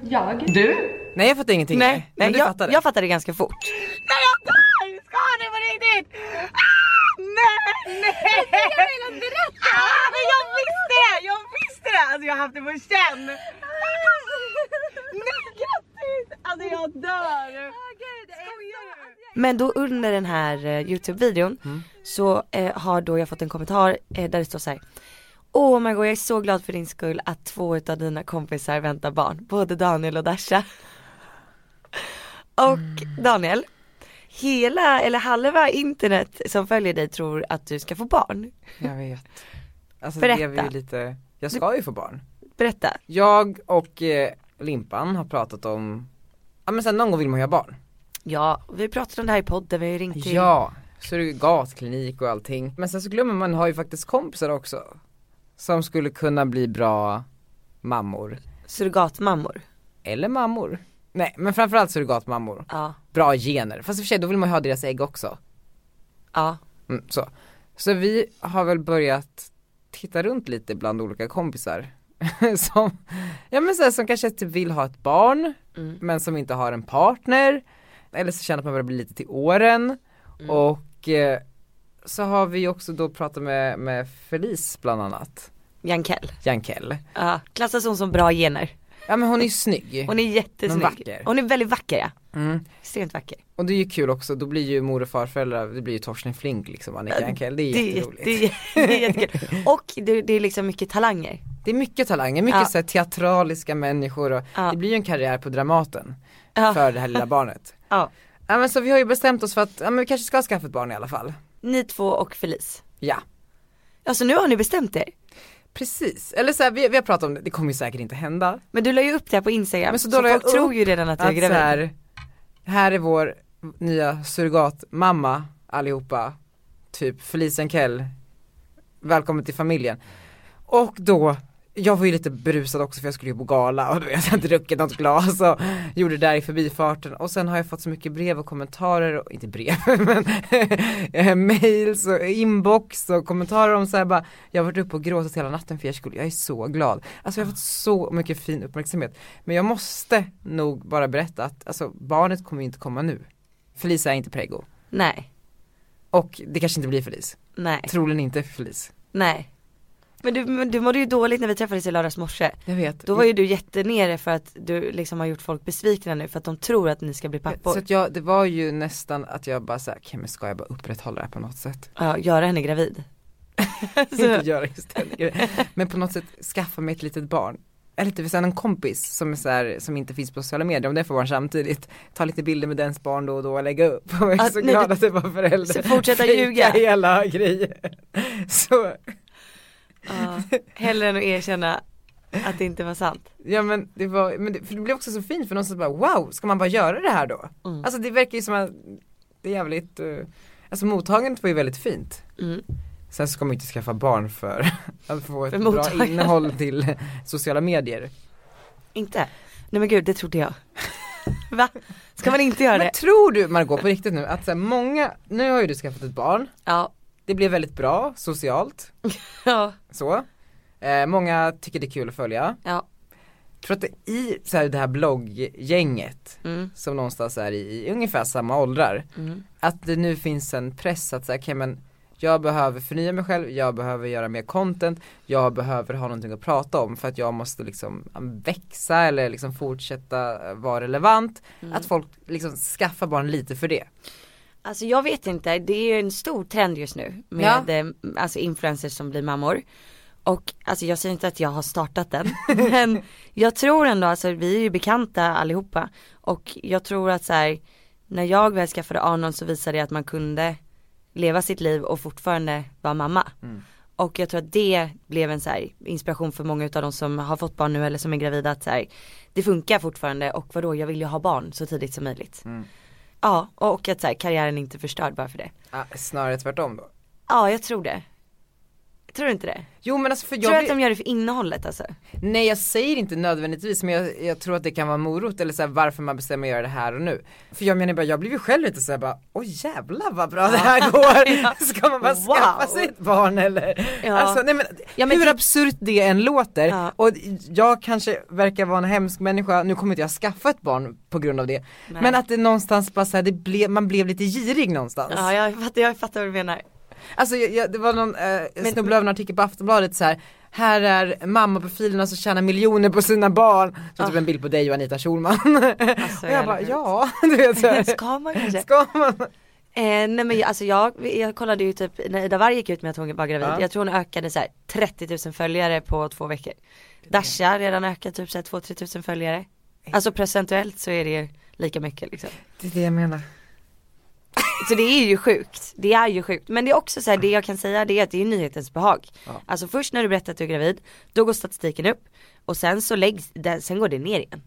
Speaker 3: Jag.
Speaker 4: Du?
Speaker 1: Nej jag fattar ingenting.
Speaker 2: Nej,
Speaker 1: men
Speaker 2: nej
Speaker 1: du
Speaker 2: jag,
Speaker 1: fattade.
Speaker 2: jag fattade ganska fort.
Speaker 4: Nej jag dör! Ska ni på riktigt? Ah, nej! Nej! Jag ville berätta! Ah, men jag visste det! Jag visste det! Alltså jag har haft det på känn. Nej grattis! Alltså jag dör!
Speaker 2: Men då under den här eh, Youtube-videon så eh, har då jag fått en kommentar eh, där det står så här. Åh oh Margot jag är så glad för din skull att två av dina kompisar väntar barn, både Daniel och Dasha. Och Daniel, hela eller halva internet som följer dig tror att du ska få barn.
Speaker 1: Jag vet. Alltså
Speaker 2: Berätta.
Speaker 1: det är vi ju lite, jag ska ju få barn.
Speaker 2: Berätta.
Speaker 1: Jag och eh, Limpan har pratat om, ja men sen någon gång vill man ju ha barn.
Speaker 2: Ja, vi pratade om det här i podden, vi har ju ringt till
Speaker 1: Ja, så det är ju gatklinik och allting. Men sen så glömmer man har ju faktiskt kompisar också. Som skulle kunna bli bra mammor.
Speaker 2: surrogatmammor.
Speaker 1: Eller mammor. Nej men framförallt surrogatmammor.
Speaker 2: Ja,
Speaker 1: Bra gener. Fast i och för sig då vill man ju ha deras ägg också.
Speaker 2: ja.
Speaker 1: Mm, så. så vi har väl börjat titta runt lite bland olika kompisar. som, ja men så här, som kanske typ vill ha ett barn
Speaker 2: Mm.
Speaker 1: men som inte har en partner. Eller så känner att man börjar bli lite till åren.
Speaker 2: Mm.
Speaker 1: Och eh, så har vi också då pratat med, med Felice bland annat,
Speaker 2: Jankell.
Speaker 1: Jankell.
Speaker 2: Ja, klassas hon som bra gener.
Speaker 1: Ja men hon är ju snygg.
Speaker 2: Hon är jättesnygg.
Speaker 1: Men vacker.
Speaker 2: Hon är väldigt vacker ja.
Speaker 1: Mm.
Speaker 2: Extremt vacker.
Speaker 1: Och det är ju kul också, då blir ju mor och farföräldrar, det blir ju Torsten Flink liksom Annika Jankell. Det är
Speaker 2: Det är,
Speaker 1: jätteroligt.
Speaker 2: det, är, det är jättekul. Och det, det är liksom mycket talanger.
Speaker 1: Det är mycket talanger, mycket
Speaker 2: Ja.
Speaker 1: så här teatraliska människor och
Speaker 2: Ja.
Speaker 1: det blir ju en karriär på Dramaten
Speaker 2: Ja.
Speaker 1: för det här lilla barnet.
Speaker 2: Ja.
Speaker 1: Ja men så vi har ju bestämt oss för att, ja men vi kanske ska skaffa ett barn i alla fall.
Speaker 2: Ni två och Felice.
Speaker 1: Ja,
Speaker 2: Alltså nu har ni bestämt er.
Speaker 1: precis. Eller så här, vi, vi har pratat om det, det kommer ju säkert inte hända.
Speaker 2: Men du la ju upp det här på instagram.
Speaker 1: Men så
Speaker 2: så,
Speaker 1: då la jag
Speaker 2: folk tror
Speaker 1: upp
Speaker 2: ju redan att du är
Speaker 1: Att så
Speaker 2: gravid.
Speaker 1: här, här är vår nya surrogatmamma allihopa, typ Felice Kell. välkommen till familjen. Och då, jag var ju lite berusad också för jag skulle ju på gala och du vet jag hade druckit något glas och gjorde det där i förbifarten och sen har jag fått så mycket brev och kommentarer, och, inte brev men eh, mails och inbox och kommentarer om så här bara jag har varit uppe och gråtit hela natten för er skull, jag är så glad. Alltså jag har fått så mycket fin uppmärksamhet men jag måste nog bara berätta att alltså barnet kommer ju inte komma nu. Felice är inte preggo
Speaker 2: Nej,
Speaker 1: och det kanske inte blir Felice,
Speaker 2: nej,
Speaker 1: troligen inte Felice.
Speaker 2: nej. Men du, men du mådde ju dåligt när vi träffades i lördags morse.
Speaker 1: Jag vet.
Speaker 2: Då var ju du jättenere för att du liksom har gjort folk besvikna nu för att de tror att ni ska bli
Speaker 1: Så
Speaker 2: pappor.
Speaker 1: att jag, det var ju nästan att jag bara såhär, okej men ska jag bara upprätthålla det här på något sätt?
Speaker 2: Ja, göra henne gravid. Alltså.
Speaker 1: Inte göra just den grejen. Men på något sätt skaffa mig ett litet barn. Eller typ såhär, en kompis som är såhär, som inte finns på sociala medier, om den får barn samtidigt, ta lite bilder med dens barn då och då och lägga upp. Och jag är
Speaker 2: Att
Speaker 1: så
Speaker 2: ni-
Speaker 1: glad att det var förälder.
Speaker 2: Ah, Så fortsätta
Speaker 1: Fejka
Speaker 2: ljuga.
Speaker 1: hela grejen. Så,
Speaker 2: Ja, hellre än att erkänna att det inte var sant.
Speaker 1: ja men det var, men det, för det blev också så fint för någon som bara wow, ska man bara göra det här då?
Speaker 2: Mm.
Speaker 1: Alltså det verkar ju som att det är jävligt, eh, alltså mottagandet var ju väldigt fint.
Speaker 2: Mm.
Speaker 1: Sen ska man ju inte skaffa barn för att få ett
Speaker 2: För
Speaker 1: bra
Speaker 2: mottagande.
Speaker 1: innehåll till sociala medier.
Speaker 2: Inte? Nej men gud, det trodde jag. Va? Ska man inte göra det?
Speaker 1: Men tror du Margot på riktigt nu att så här, många, nu har ju du skaffat ett barn,
Speaker 2: Ja.
Speaker 1: det blev väldigt bra socialt,
Speaker 2: Ja.
Speaker 1: så. Eh, många tycker det är kul att följa.
Speaker 2: Ja.
Speaker 1: Tror att det i så här, det här blogggänget
Speaker 2: Mm.
Speaker 1: som någonstans är i, i ungefär samma åldrar,
Speaker 2: Mm.
Speaker 1: att det nu finns en press att säga, okej men jag behöver förnya mig själv, jag behöver göra mer content, jag behöver ha någonting att prata om för att jag måste liksom ja, växa eller liksom fortsätta eh, vara relevant.
Speaker 2: Mm.
Speaker 1: Att folk liksom skaffar barn lite för det.
Speaker 2: Alltså jag vet inte, det är ju en stor trend just nu med eh, alltså influencers som blir mammor. Och alltså jag säger inte att jag har startat den, men jag tror ändå, alltså vi är ju bekanta allihopa. Och jag tror att så här, när jag väl skaffade Arnon så visade det att man kunde leva sitt liv och fortfarande vara mamma. Och jag tror att det blev en så här inspiration för många av de som har fått barn nu eller som är gravida att så här, det funkar fortfarande och vadå jag vill ju ha barn så tidigt som möjligt. Ja, och att så här, karriären är inte förstörd bara för det.
Speaker 1: Ah, snarare tvärtom då.
Speaker 2: Ja, jag tror det. Tror du inte det?
Speaker 1: Jo men alltså för
Speaker 2: tror du
Speaker 1: jag,
Speaker 2: att
Speaker 1: blir,
Speaker 2: de gör det för innehållet alltså?
Speaker 1: nej jag säger inte nödvändigtvis men jag, jag tror att det kan vara en morot eller så här, varför man bestämmer att göra det här och nu. För jag menar bara, jag blev ju själv lite såhär bara, åh jävlar vad bra det här går. Ska man bara
Speaker 2: Wow.
Speaker 1: skaffa sig ett barn eller?
Speaker 2: Ja.
Speaker 1: Alltså nej men,
Speaker 2: Ja, men
Speaker 1: hur
Speaker 2: typ-
Speaker 1: absurt det än låter
Speaker 2: Ja.
Speaker 1: och jag kanske verkar vara en hemsk människa, nu kommer inte jag skaffa ett barn på grund av det.
Speaker 2: Nej.
Speaker 1: Men att det någonstans bara såhär, det blev, man blev lite girig någonstans.
Speaker 2: Ja, jag fattar, jag fattar vad du menar.
Speaker 1: Alltså jag, jag, det var någon, eh, jag snubblade över en artikel på Aftonbladet så här. Här är mammaprofilerna som tjänar miljoner på sina barn. Så typ en bild på dig och Anita Schulman. och jag
Speaker 2: Ah. Alltså, jävla
Speaker 1: bara,
Speaker 2: sjukt.
Speaker 1: ja, du vet så här.
Speaker 2: Ska man kanske?
Speaker 1: Ska man?
Speaker 2: Eh, nej men jag, alltså jag, jag kollade ju typ när Ida Warg gick ut med att hon var gravid,
Speaker 1: Ja.
Speaker 2: jag tror hon ökade så här 30 000 följare på två veckor. Dasha har redan ökat typ så här 2-3 000 följare. Alltså procentuellt så är det ju lika mycket liksom.
Speaker 1: Det är det jag menar.
Speaker 2: Så det är ju sjukt, det är ju sjukt. Men det är också så här, det jag kan säga det är att det är nyhetens behag. Alltså först när du berättar att du är gravid, då går statistiken upp och sen så läggs, där- sen går det ner igen.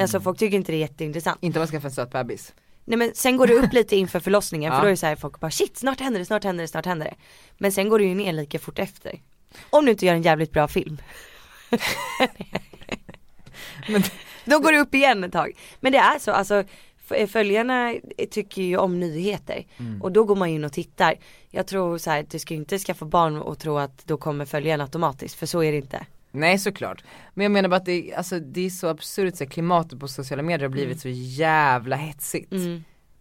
Speaker 2: Alltså folk tycker inte det är jätteintressant.
Speaker 1: Inte om man skaffar en söt bebis.
Speaker 2: Nej men sen går det upp lite inför förlossningen
Speaker 1: Ja.
Speaker 2: för då är det så här folk bara shit snart händer det, snart händer det, snart händer det. Men sen går det ju ner lika fort efter. Om du inte gör en jävligt bra film. då går det upp igen ett tag. Men det är så, alltså f- följarna tycker ju om nyheter och då går man in och tittar. Jag tror så här, du ska ju inte skaffa barn och tro att då kommer följarna automatiskt för så är det inte.
Speaker 1: Nej såklart. Men jag menar bara att det, alltså, det är så absurt så här, klimatet på sociala medier har blivit så jävla hetsigt.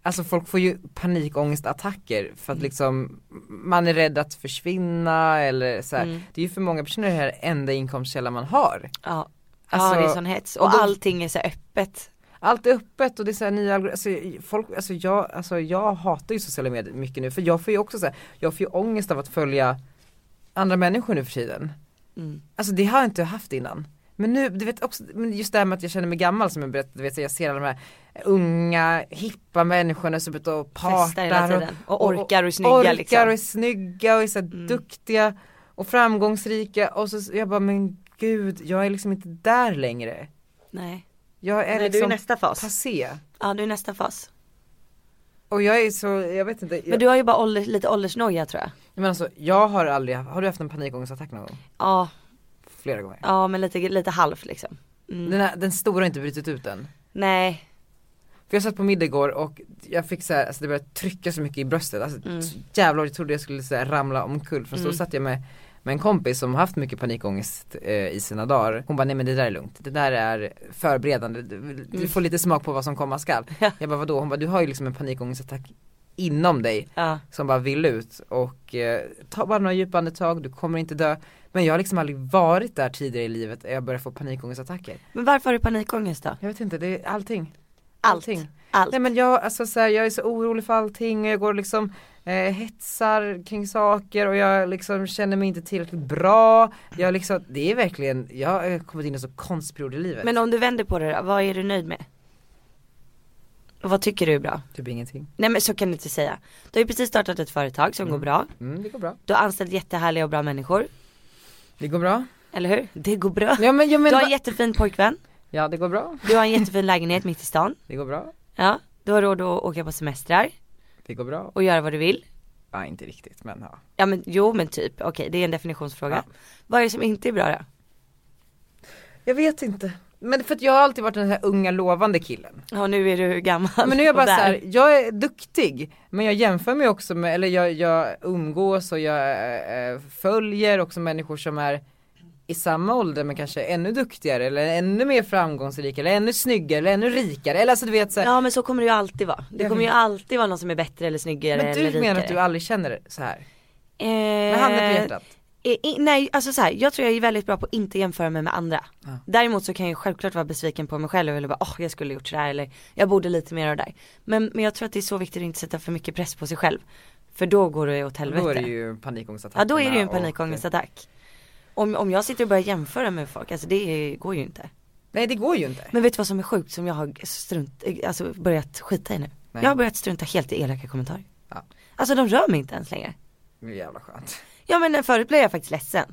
Speaker 1: Alltså folk får ju panikångestattacker för att liksom man är rädd att försvinna eller så här. Det är ju för många personer det här enda inkomstkälla man har.
Speaker 2: Ja,
Speaker 1: Alltså,
Speaker 2: ja det är sån hets och,
Speaker 1: och då-
Speaker 2: allting är så här öppet.
Speaker 1: Allt är öppet och det är så här nya algor- alltså, folk, alltså, jag, alltså jag hatar ju sociala medier mycket nu för jag får ju också så här, jag får ju ångest av att följa andra människor nu för tiden.
Speaker 2: Mm.
Speaker 1: Alltså det har jag inte haft innan. Men nu, du vet också, men just det här med att jag känner mig gammal som jag berättade, du vet, så jag ser alla de här unga, hippa människorna som är ute och
Speaker 2: Festar hela
Speaker 1: partar
Speaker 2: tiden. Och orkar och är snygga,
Speaker 1: orkar
Speaker 2: liksom. Mm.
Speaker 1: och är snygga och är så här duktiga och framgångsrika och så jag bara men gud, jag är liksom inte där längre.
Speaker 2: Nej,
Speaker 1: Jag är
Speaker 2: Nej du är
Speaker 1: liksom
Speaker 2: nästa fas.
Speaker 1: passé.
Speaker 2: Ja du är nästa fas.
Speaker 1: Och jag är så, jag vet inte, jag,
Speaker 2: Men
Speaker 1: men,
Speaker 2: du har ju bara ålder, lite åldersnoja tror jag.
Speaker 1: alltså jag har aldrig, haft- har du haft en panikångestattack någon gång?
Speaker 2: Ja,
Speaker 1: Flera gånger.
Speaker 2: ja men lite, lite halvt liksom. Mm.
Speaker 1: Den, här, den stora har inte brutit ut än.
Speaker 2: Nej,
Speaker 1: För jag satt på middag igår och jag fick så här, alltså det började trycka så mycket i bröstet, alltså
Speaker 2: Mm.
Speaker 1: så jävlar jag trodde jag skulle så här, ramla omkull för så
Speaker 2: Mm.
Speaker 1: satt jag med, med en kompis som haft mycket panikångest eh, i sina dagar. Hon bara nej men det där är lugnt, det där är förberedande, du, du får lite smak på vad som komma skall.
Speaker 2: Mm. Ja.
Speaker 1: Jag bara vadå, hon bara du har ju liksom en panikångestattack inom dig
Speaker 2: ja.
Speaker 1: som bara vill ut och eh, ta bara några djupa andetag, du kommer inte dö. Men jag har liksom aldrig varit där tidigare i livet, jag börjar få panikångestattacker.
Speaker 2: Men varför har du panikångest då?
Speaker 1: Jag vet inte, det är allting.
Speaker 2: Allt. Allt.
Speaker 1: Nej men jag, alltså, så här, jag är så orolig för allting och jag går liksom eh, hetsar kring saker och jag liksom känner mig inte tillräckligt bra. Jag liksom, det är verkligen, jag har kommit in i en så konstperiod i livet.
Speaker 2: Men om du vänder på det då, vad är du nöjd med? Och vad tycker du är bra?
Speaker 1: Typ ingenting.
Speaker 2: Nej men så kan du inte säga. Du har ju precis startat ett företag som går bra.
Speaker 1: Mm, det går bra.
Speaker 2: Du har anställt jättehärliga och bra människor.
Speaker 1: Det går bra.
Speaker 2: Eller hur? Det går bra.
Speaker 1: Ja men, ja, men
Speaker 2: Du har en
Speaker 1: va-
Speaker 2: jättefin pojkvän.
Speaker 1: ja det går bra.
Speaker 2: Du har en jättefin lägenhet mitt i stan.
Speaker 1: Det går bra.
Speaker 2: Ja. Du har råd att åka på semestrar
Speaker 1: Det går bra.
Speaker 2: och göra vad du vill.
Speaker 1: Ja inte riktigt men ja.
Speaker 2: Ja men jo men typ, okej det är en definitionsfråga.
Speaker 1: Ja.
Speaker 2: Vad är det som inte är bra då?
Speaker 1: Jag vet inte. Men för att jag har alltid varit den här unga lovande killen.
Speaker 2: Ja nu är du gammal
Speaker 1: Men nu är jag
Speaker 2: och
Speaker 1: bara så
Speaker 2: där.
Speaker 1: här, jag är duktig men jag jämför mig också med, eller jag, jag umgås och jag eh, följer också människor som är i samma ålder men kanske ännu duktigare eller ännu mer framgångsrika eller ännu snyggare eller ännu rikare eller alltså du vet så här,
Speaker 2: Ja men så kommer det ju alltid vara. Det
Speaker 1: Jag
Speaker 2: kommer ju
Speaker 1: vet.
Speaker 2: alltid vara någon som är bättre eller snyggare
Speaker 1: Men
Speaker 2: eller
Speaker 1: du
Speaker 2: rikare.
Speaker 1: menar att du aldrig känner så här?
Speaker 2: eh,
Speaker 1: Med handen på hjärtat?
Speaker 2: eh, i- nej alltså så här, jag tror jag är väldigt bra på att inte jämföra mig med andra.
Speaker 1: Ja.
Speaker 2: Däremot så kan jag ju självklart vara besviken på mig själv eller bara åh jag skulle gjort sådär eller jag borde lite mer av det där. Men, men jag tror att det är så viktigt att inte sätta för mycket press på sig själv. För då går det åt helvete.
Speaker 1: Då är det ju panikångestattack.
Speaker 2: ja då är det ju en panikångestattack. Om, om jag sitter och börjar jämföra med folk, alltså det går ju inte.
Speaker 1: Nej det går ju inte.
Speaker 2: Men vet du vad som är sjukt som jag har strunt, alltså börjat skita i nu?
Speaker 1: Nej.
Speaker 2: Jag har börjat strunta helt i elaka kommentarer.
Speaker 1: Ja.
Speaker 2: Alltså de rör mig inte ens längre.
Speaker 1: Det är jävla skönt.
Speaker 2: Ja men eh, förut blev jag faktiskt ledsen.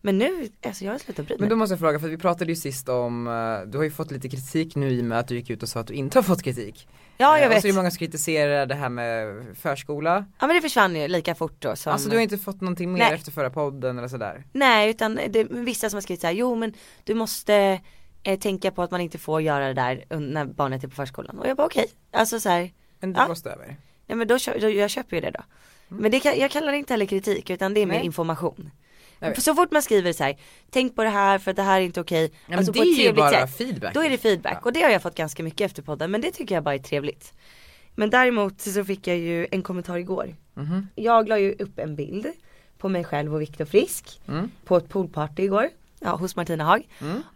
Speaker 2: Men nu, alltså jag har slutat bry mig.
Speaker 1: Men då måste jag fråga, för vi pratade ju sist om, eh, du har ju fått lite kritik nu i och med att du gick ut och sa att du inte har fått kritik.
Speaker 2: ja jag
Speaker 1: Eh, Och
Speaker 2: vet.
Speaker 1: så är det många som kritiserar det här med förskola.
Speaker 2: Ja men det försvann ju lika fort då som
Speaker 1: Alltså du har inte fått någonting mer
Speaker 2: Nej.
Speaker 1: efter förra podden eller sådär.
Speaker 2: Nej utan det är vissa som har skrivit så här, jo men du måste eh, tänka på att man inte får göra det där un- när barnet är på förskolan. Och jag bara okej, alltså så här,
Speaker 1: Men du
Speaker 2: Ja.
Speaker 1: blåste över.
Speaker 2: nej men då, kö- då jag köper ju det då. Men det kan, jag kallar det inte heller kritik utan det är mer
Speaker 1: Mm. Nej.
Speaker 2: information.
Speaker 1: Jag vet.
Speaker 2: Så fort man skriver så här, tänk på det här för att det här är inte okej.
Speaker 1: men
Speaker 2: alltså
Speaker 1: det
Speaker 2: på ett
Speaker 1: är ju
Speaker 2: trevligt
Speaker 1: bara
Speaker 2: sätt.
Speaker 1: feedback.
Speaker 2: Då är det feedback och det har jag fått ganska mycket efter podden men det tycker jag bara är trevligt. Men däremot så fick jag ju en kommentar igår.
Speaker 1: Mm-hmm.
Speaker 2: Jag la ju upp en bild på mig själv och Viktor Frisk
Speaker 1: Mm.
Speaker 2: på ett poolparty igår. Ja, hos Martina Haag.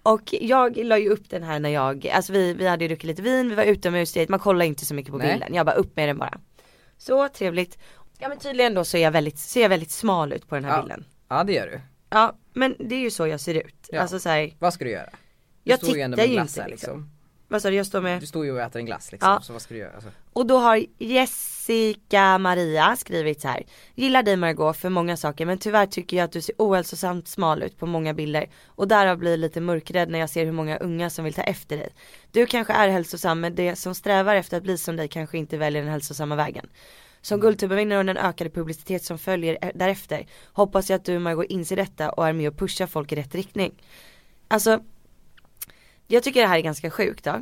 Speaker 2: Och jag la ju upp den här när jag, alltså vi, vi hade ju druckit lite vin, vi var utomhus, du vet, man kollar inte så mycket på
Speaker 1: Nej.
Speaker 2: bilden. Jag bara upp med den bara. Så trevligt. Ja men tydligen då så är jag väldigt, ser jag väldigt smal ut på den här
Speaker 1: Ja.
Speaker 2: bilden.
Speaker 1: Ja det gör du.
Speaker 2: Ja men det är ju så jag ser ut.
Speaker 1: Ja.
Speaker 2: Alltså så här,
Speaker 1: Vad ska du göra? Du
Speaker 2: Jag
Speaker 1: står ju
Speaker 2: tittar
Speaker 1: ändå med
Speaker 2: ju
Speaker 1: glassar
Speaker 2: inte,
Speaker 1: liksom.
Speaker 2: Vad sa du, jag står med?
Speaker 1: Du står ju och äter en glass liksom,
Speaker 2: Ja.
Speaker 1: så vad ska du göra? Alltså,
Speaker 2: Och då har Jessica Maria skrivit så här. Gillar dig Margot för många saker men tyvärr tycker jag att du ser ohälsosamt smal ut på många bilder och därav blir jag lite mörkrädd när jag ser hur många unga som vill ta efter dig. Du kanske är hälsosam men de som strävar efter att bli som dig kanske inte väljer den hälsosamma vägen. Som Guldtubenvinnare och den ökade publicitet som följer eh, därefter hoppas jag att du Margot inser detta och är med och pushar folk i rätt riktning. Alltså, jag tycker det här är ganska sjukt då.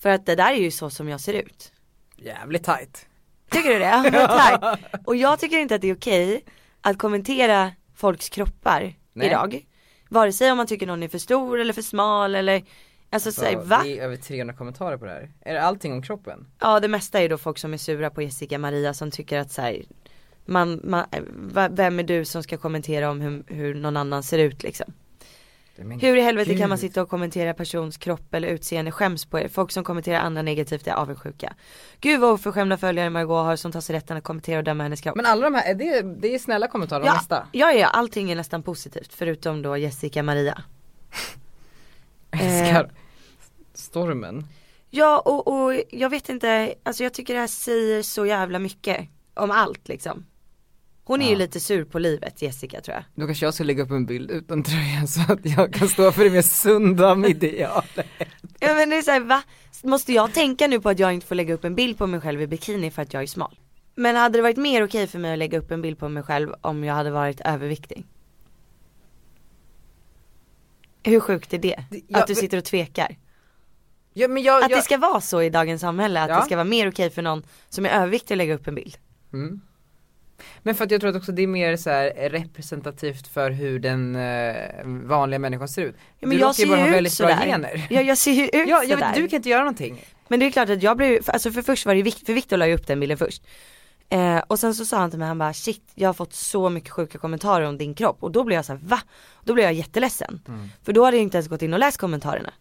Speaker 2: För att det där är ju så som jag ser ut.
Speaker 1: jävligt tight.
Speaker 2: Tycker du det? Ja, tack. Och jag tycker inte att det är okej att kommentera folks kroppar
Speaker 1: Nej.
Speaker 2: idag. Vare sig om man tycker någon är för stor eller för smal eller Alltså så, här,
Speaker 1: Så
Speaker 2: va?
Speaker 1: Det är över 300 kommentarer på det här. Är det allting om kroppen?
Speaker 2: Ja det mesta är ju då folk som är sura på Jessica Maria som tycker att så här, man, man, va- vem är du som ska kommentera om hur, hur någon annan ser ut liksom?
Speaker 1: Men
Speaker 2: Hur i helvete kan man
Speaker 1: gud.
Speaker 2: sitta och kommentera persons kropp eller utseende? Skäms på er. Folk som kommenterar andra negativt är avundsjuka. Gud vad oförskämda följare Margot har som tar sig rätten att kommentera och döma hennes kropp.
Speaker 1: Men alla de här, är det, det är snälla kommentarer om
Speaker 2: Ja,
Speaker 1: nästa.
Speaker 2: ja, ja, allting är nästan positivt förutom då Jessica Maria. Eh.
Speaker 1: Älskar. Stormen.
Speaker 2: Ja och, och jag vet inte, alltså jag tycker det här säger så jävla mycket om allt liksom. Hon är ju lite sur på livet Jessica tror jag.
Speaker 1: Då kanske jag ska lägga upp en bild utan tröja så att jag kan stå för det mer sunda av idealet.
Speaker 2: Ja men det är såhär va? Måste jag tänka nu på att jag inte får lägga upp en bild på mig själv i bikini för att jag är smal? Men hade det varit mer okej för mig att lägga upp en bild på mig själv om jag hade varit överviktig? Hur sjukt är det?
Speaker 1: Det- ja,
Speaker 2: Att du
Speaker 1: men-
Speaker 2: sitter och tvekar?
Speaker 1: Ja men jag,
Speaker 2: Att
Speaker 1: jag
Speaker 2: det ska vara så i dagens samhälle, att
Speaker 1: Ja.
Speaker 2: det ska vara mer okej för någon som är överviktig att lägga upp en bild.
Speaker 1: Mm. Men för att jag tror att också det är mer så här representativt för hur den eh, vanliga människan ser ut.
Speaker 2: Ja, men
Speaker 1: du
Speaker 2: jag
Speaker 1: råkar
Speaker 2: ser
Speaker 1: ju bara
Speaker 2: ju
Speaker 1: ha
Speaker 2: ut
Speaker 1: väldigt bra
Speaker 2: sådär.
Speaker 1: gener.
Speaker 2: Ja jag ser ju ut
Speaker 1: Ja, jag
Speaker 2: sådär.
Speaker 1: vet, du kan inte göra någonting.
Speaker 2: Men det är klart att jag blev, för- alltså för först var det Victor, för Victor la ju upp den bilden först. Eh, och sen så sa han till mig, han bara shit jag har fått så mycket sjuka kommentarer om din kropp och då blev jag så här, va? Då blev jag jätteledsen. För då hade jag inte ens gått in och läst kommentarerna.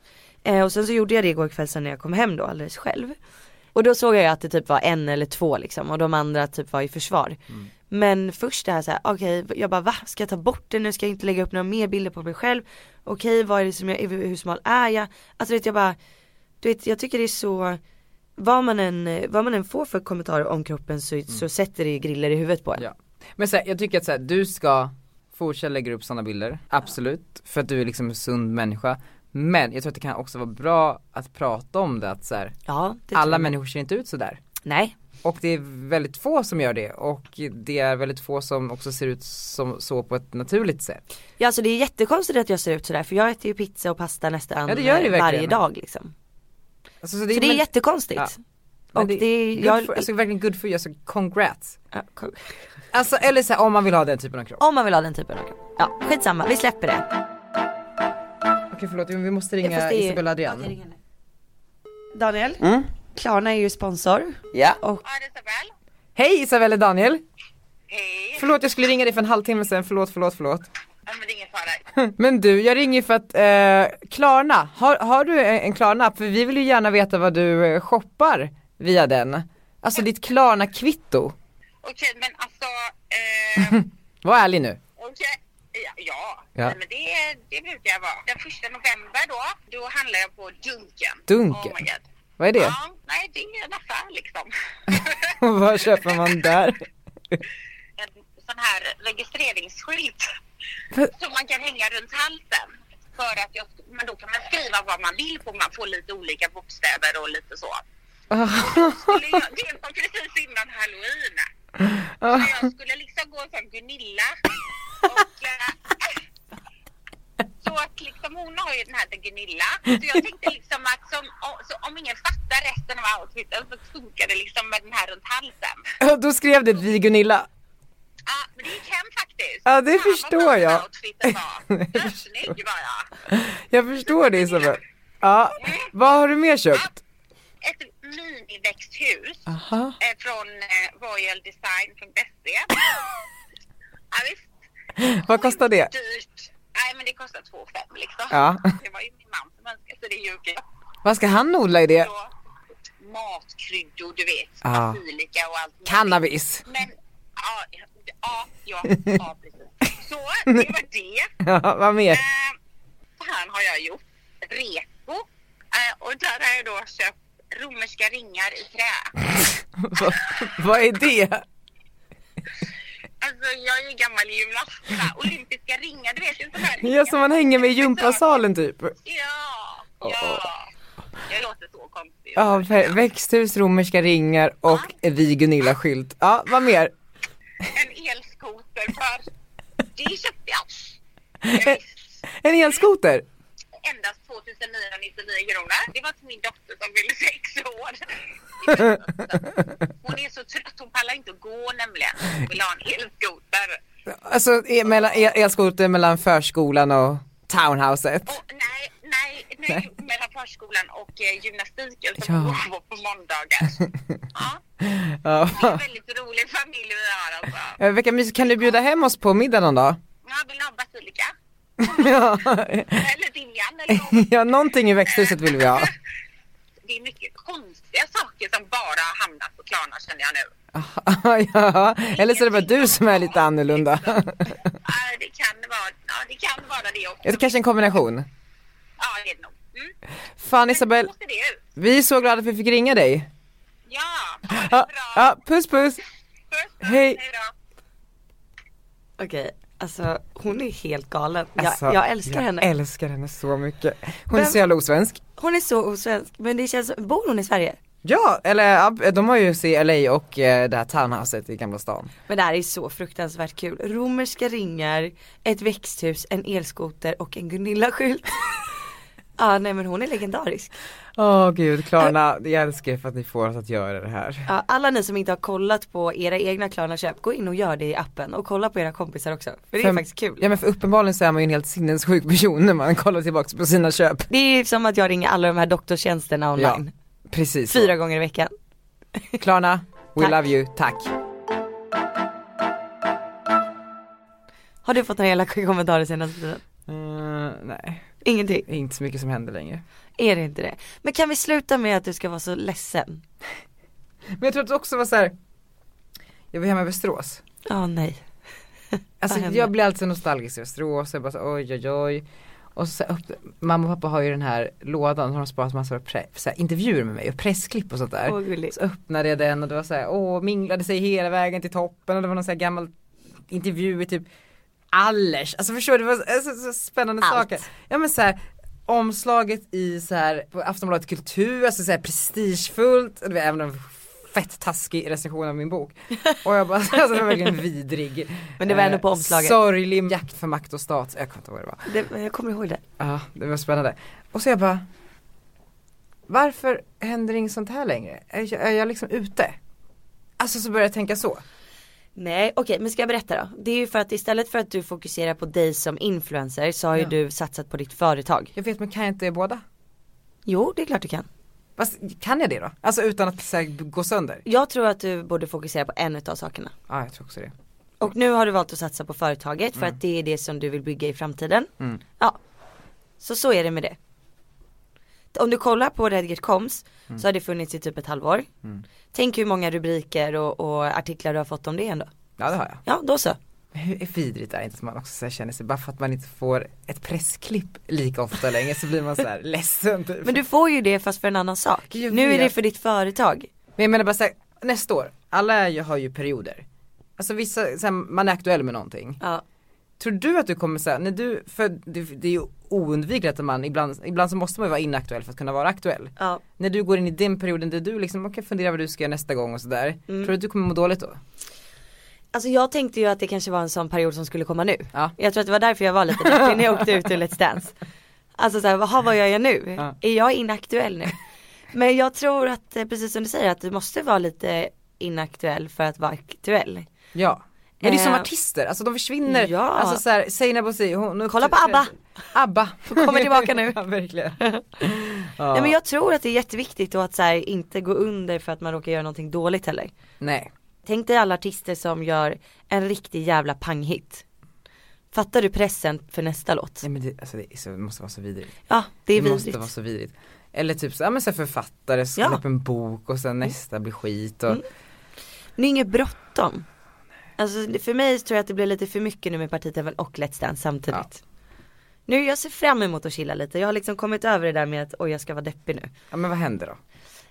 Speaker 2: Eh, och sen så gjorde jag det igår kväll sen när jag kom hem då alldeles själv. Och då såg jag ju att det typ var en eller två liksom och de andra typ var i försvar. Men först det här såhär, okej jag bara va? Ska jag ta bort det nu? Ska jag inte lägga upp några mer bilder på mig själv? Okej vad är det som jag, hur smal är jag? Alltså du vet jag bara, du vet jag tycker det är så vad man än, vad man än får för kommentarer om kroppen så, så sätter det ju griller i huvudet på en.
Speaker 1: Mm. Ja. Men så här, jag tycker att så här, du ska fortsätta lägga upp sådana bilder, absolut, för att du är liksom en sund människa. Men jag tror att det kan också vara bra att prata om det att så här,
Speaker 2: Ja, det tror
Speaker 1: alla
Speaker 2: jag.
Speaker 1: människor ser inte ut sådär.
Speaker 2: Nej.
Speaker 1: Och det är väldigt få som gör det och det är väldigt få som också ser ut som så på ett naturligt sätt.
Speaker 2: Ja alltså det är jättekonstigt att jag ser ut sådär för jag äter ju pizza och pasta nästan
Speaker 1: Ja, det gör det verkligen.
Speaker 2: varje dag liksom.
Speaker 1: Alltså,
Speaker 2: Så det är
Speaker 1: men-
Speaker 2: jättekonstigt.
Speaker 1: Ja.
Speaker 2: Och
Speaker 1: men
Speaker 2: det,
Speaker 1: good
Speaker 2: jag,
Speaker 1: for, alltså verkligen good for you, alltså congrats.
Speaker 2: Ja, kom-
Speaker 1: Alltså eller så här, om man vill ha den typen av kropp.
Speaker 2: om man vill ha den typen av kropp. Ja skitsamma, vi släpper det.
Speaker 1: Okej förlåt, vi måste
Speaker 2: Ja, fast
Speaker 1: ringa
Speaker 2: det är-
Speaker 1: Isabella Adrian.
Speaker 2: Okej, ring henne. Daniel, Klarna är ju sponsor.
Speaker 1: Ja.
Speaker 2: Och
Speaker 1: Hej Isabella Daniel!
Speaker 5: Hej.
Speaker 1: Förlåt jag skulle ringa dig för en halvtimme sen, förlåt förlåt förlåt.
Speaker 5: Ja, men det är ingen fara.
Speaker 1: Men du, jag ringer för att eh, Klarna, har, har du en en Klarna-app? För vi vill ju gärna veta vad du eh, shoppar via den. Alltså ditt Klarna-kvitto.
Speaker 5: Okej, men alltså... Eh,
Speaker 1: Var ärlig nu.
Speaker 5: okej. Ja, ja.
Speaker 1: Ja.
Speaker 5: Nej, men det, det brukar jag vara. Den första november då, då handlar jag på Dunken.
Speaker 1: Dunken?
Speaker 5: Oh my God.
Speaker 1: Vad är det?
Speaker 5: Ja, nej det är en affär liksom.
Speaker 1: Och vad köper man där?
Speaker 5: en sån här registreringsskylt som man kan hänga runt halsen. För att jag, men då kan man skriva vad man vill på, man får lite olika bokstäver och lite så. Skulle jag, det var precis innan halloween. Så jag skulle liksom gå som Gunilla. Och, eh, så att liksom hon har ju den här till Gunilla. Så jag tänkte liksom att som, o- så om ingen fattar resten av outfiten så funkar det liksom med den här runt halsen.
Speaker 1: Då skrev det vi Gunilla.
Speaker 5: Ja, men det gick hem faktiskt.
Speaker 1: Ja, det
Speaker 5: Fan, vad
Speaker 1: förstår
Speaker 5: bra
Speaker 1: jag.
Speaker 5: outfiten
Speaker 1: Jag
Speaker 5: var. Vad
Speaker 1: förstår.
Speaker 5: Snygg var jag.
Speaker 1: Jag förstår det Isabella. Ja, vad har du mer köpt?
Speaker 5: Ett miniväxthus
Speaker 1: Aha.
Speaker 5: eh, från eh, royaldesign.se. ja, visst.
Speaker 1: Vad kostar det?
Speaker 5: Dyrt. Nej, men det kostar 2 5 liksom.
Speaker 1: Ja.
Speaker 5: Det var ju min man som önskade sig det i julklapp.
Speaker 1: Vad ska han odla i det?
Speaker 5: Så Matkryddor, du vet.
Speaker 1: Ja.
Speaker 5: Basilika och allt. möjligt.
Speaker 1: Cannabis.
Speaker 5: Men, ja, ja, ja, ja, precis. Så, det var det.
Speaker 1: Ja, vad mer?
Speaker 5: Eh, så här har jag gjort. Reko. Eh, Och där har jag då köpt romerska ringar i trä.
Speaker 1: Vad- Vad är det?
Speaker 5: Alltså jag är ju gammal gymnasta, olympiska ringar, du vet ju sådana här
Speaker 1: Ja, som man hänger med i gympasalen typ.
Speaker 5: Ja, ja. Jag låter så konstig.
Speaker 1: Ja, vä- växthus, romerska ringar och vi Gunilla-skylt. Ja, vad mer?
Speaker 5: En elskoter för det köpte jag. jag visste.
Speaker 1: En elskoter?
Speaker 5: endast 2999 kronor. Det var till min dotter som fyllde sex år. Hon är så trött, hon pallar inte att gå nämligen. Hon vill ha en elskoter.
Speaker 1: Alltså e- mellan, el- elskoter mellan förskolan och townhouset.
Speaker 5: Och nej, nej, nej, mellan förskolan och eh, gymnastiken som
Speaker 1: Ja.
Speaker 5: hon går på måndagar. Ja,
Speaker 1: Ja.
Speaker 5: det är en väldigt rolig familj vi har alltså.
Speaker 1: Eh, Vilka mysigt, kan du bjuda hem oss på middag någon dag?
Speaker 5: Ja, vill ni ha basilika?
Speaker 1: Ja.
Speaker 5: Eller timjan eller något.
Speaker 1: ja, någonting i växthuset vill vi ha.
Speaker 5: Det är mycket konstiga saker som bara har hamnat på Klarna känner jag nu.
Speaker 1: ja. Eller så är det bara du som är lite annorlunda.
Speaker 5: Ja, det kan vara, ja, det kan vara det också.
Speaker 1: Det är kanske en kombination.
Speaker 5: Ja, det är det nog. Mm.
Speaker 1: Fan Isabel,
Speaker 5: Men så ser det ut.
Speaker 1: vi är så glada att vi fick ringa dig.
Speaker 5: Ja, ha det
Speaker 1: Ja,
Speaker 5: bra.
Speaker 1: ja, puss puss.
Speaker 5: Puss, puss.
Speaker 1: hej.
Speaker 5: då.
Speaker 2: Okej, alltså hon är helt galen. Jag,
Speaker 1: Alltså,
Speaker 2: jag älskar henne.
Speaker 1: Jag älskar henne så mycket. Hon är
Speaker 2: Vem-
Speaker 1: så jävla osvensk.
Speaker 2: Hon är så osvensk, men det känns som, bor hon i Sverige?
Speaker 1: Ja, eller ja, de har ju i LA och eh, det här townhouset i Gamla stan.
Speaker 2: Men det här är så fruktansvärt kul. Romerska ringar, ett växthus, en elskoter och en Gunilla-skylt. Ja nej men hon är legendarisk.
Speaker 1: Åh gud, Klarna, jag älskar er för att ni får oss att göra det här.
Speaker 2: Ja, alla ni som inte har kollat på era egna Klarna-köp, gå in och gör det i appen och kolla på era kompisar också. För det är
Speaker 1: Fem-
Speaker 2: faktiskt kul.
Speaker 1: Ja men för uppenbarligen så är man ju en helt sinnessjuk person när man kollar tillbaks på sina köp.
Speaker 2: Det är som att jag ringer alla de här doktortjänsterna online.
Speaker 1: Precis. så.
Speaker 2: Fyra gånger i veckan.
Speaker 1: Klarna, we
Speaker 2: Tack.
Speaker 1: love you, tack.
Speaker 2: Har du fått några elaka kommentarer senaste tiden?
Speaker 1: Mm, nej,
Speaker 2: Ingenting.
Speaker 1: det är inte så mycket som händer längre.
Speaker 2: Är det inte det? Men kan vi sluta med att du ska vara så ledsen?
Speaker 1: Men jag tror att det också var så här. jag var hemma i Västerås.
Speaker 2: Ja nej.
Speaker 1: Alltså
Speaker 2: Vad hände?
Speaker 1: jag blir alltid nostalgisk i Västerås, jag bara så, oj oj oj. Och så upp, mamma och pappa har ju den här lådan, så har de sparat massor av pre, så här, intervjuer med mig och pressklipp och sånt där.
Speaker 2: Åh, gulligt.
Speaker 1: så öppnade jag den och det var så här, åh minglade sig hela vägen till toppen och det var någon så här gammal intervju i typ Allers, alltså förstår du, det var så, så, så spännande
Speaker 2: Allt.
Speaker 1: saker. Ja men så här, omslaget i så här, på Aftonbladet kultur, alltså så här prestigefullt, och det var även en fett taskig recension av min bok. Och jag bara, alltså det var verkligen vidrig.
Speaker 2: Men det var ändå på
Speaker 1: Eh,
Speaker 2: omslaget.
Speaker 1: Sorglig jakt för makt och stat, jag kommer inte ihåg vad det var.
Speaker 2: Det, jag kommer ihåg det.
Speaker 1: Ja, det var spännande. Och så jag bara, varför händer inget sånt här längre? Är jag, är jag liksom ute? Alltså så började jag tänka så.
Speaker 2: Nej okej men ska jag berätta då? Det är ju för att istället för att du fokuserar på dig som influencer så har ju
Speaker 1: Ja.
Speaker 2: du satsat på ditt företag.
Speaker 1: Jag vet men kan jag inte båda?
Speaker 2: Jo det är klart du kan.
Speaker 1: Fast, kan jag det då? Alltså utan att så här, gå sönder?
Speaker 2: Jag tror att du borde fokusera på en utav sakerna.
Speaker 1: Ja, jag tror också det.
Speaker 2: Och nu har du valt att satsa på företaget för att det är det som du vill bygga i framtiden. Ja. Så så är det med det. Om du kollar på Redgert Koms så har det funnits i typ ett halvår. Tänk hur många rubriker och, och artiklar du har fått om det ändå.
Speaker 1: Ja, det har jag.
Speaker 2: Ja, då så.
Speaker 1: Men hur vidrigt är det inte att man också så här känner sig, bara för att man inte får ett pressklipp lika ofta längre så blir man så här ledsen typ.
Speaker 2: Men du får ju det fast för en annan sak.
Speaker 1: Jag
Speaker 2: Nu är
Speaker 1: vet.
Speaker 2: det för ditt företag.
Speaker 1: Men jag menar bara såhär, nästa år, alla är ju, har ju perioder. Alltså vissa, så här, man är aktuell med någonting.
Speaker 2: Ja.
Speaker 1: Tror du att du kommer säga, när du, för det, det är ju oundvikligt att man ibland, ibland så måste man ju vara inaktuell för att kunna vara aktuell.
Speaker 2: Ja.
Speaker 1: När du går in i den perioden där du liksom, okej fundera vad du ska göra nästa gång och sådär. Tror du att du kommer må dåligt då?
Speaker 2: Alltså jag tänkte ju att det kanske var en sån period som skulle komma nu.
Speaker 1: Ja.
Speaker 2: Jag tror att det var därför jag var lite deppig när jag åkte ut ur Let's Dance. Alltså såhär, jaha vad gör jag nu?
Speaker 1: Ja.
Speaker 2: Är jag inaktuell nu? Men jag tror att, eh, precis som du säger, att du måste vara lite inaktuell för att vara aktuell.
Speaker 1: Ja. Men det är som
Speaker 2: Eh,
Speaker 1: artister, alltså de försvinner.
Speaker 2: ja.
Speaker 1: Alltså såhär, Seinabo Bosi, hon hon-
Speaker 2: Kolla på ABBA.
Speaker 1: ABBA.
Speaker 2: Hon kommer tillbaka nu.
Speaker 1: ja, verkligen.
Speaker 2: Nej men jag tror att det är jätteviktigt och att så här, inte gå under för att man råkar göra någonting dåligt heller.
Speaker 1: Nej.
Speaker 2: Tänk dig alla artister som gör en riktig jävla panghit. Fattar du pressen för nästa låt?
Speaker 1: Nej men det, alltså det, är så, det måste vara så vidrigt.
Speaker 2: Ja, det är
Speaker 1: det måste
Speaker 2: vidrigt.
Speaker 1: vara så vidrigt. Eller typ så, ja, men så här författare,
Speaker 2: Ja. Mm.
Speaker 1: släpp en bok och sen nästa blir skit och
Speaker 2: Men det är inget bråttom. Alltså det- för mig tror jag att det blir lite för mycket nu med partitävlan och Let's Dance samtidigt. Nu jag ser fram emot att chilla lite, jag har liksom kommit över det där med att oj jag ska vara deppig nu.
Speaker 1: Ja men vad händer då?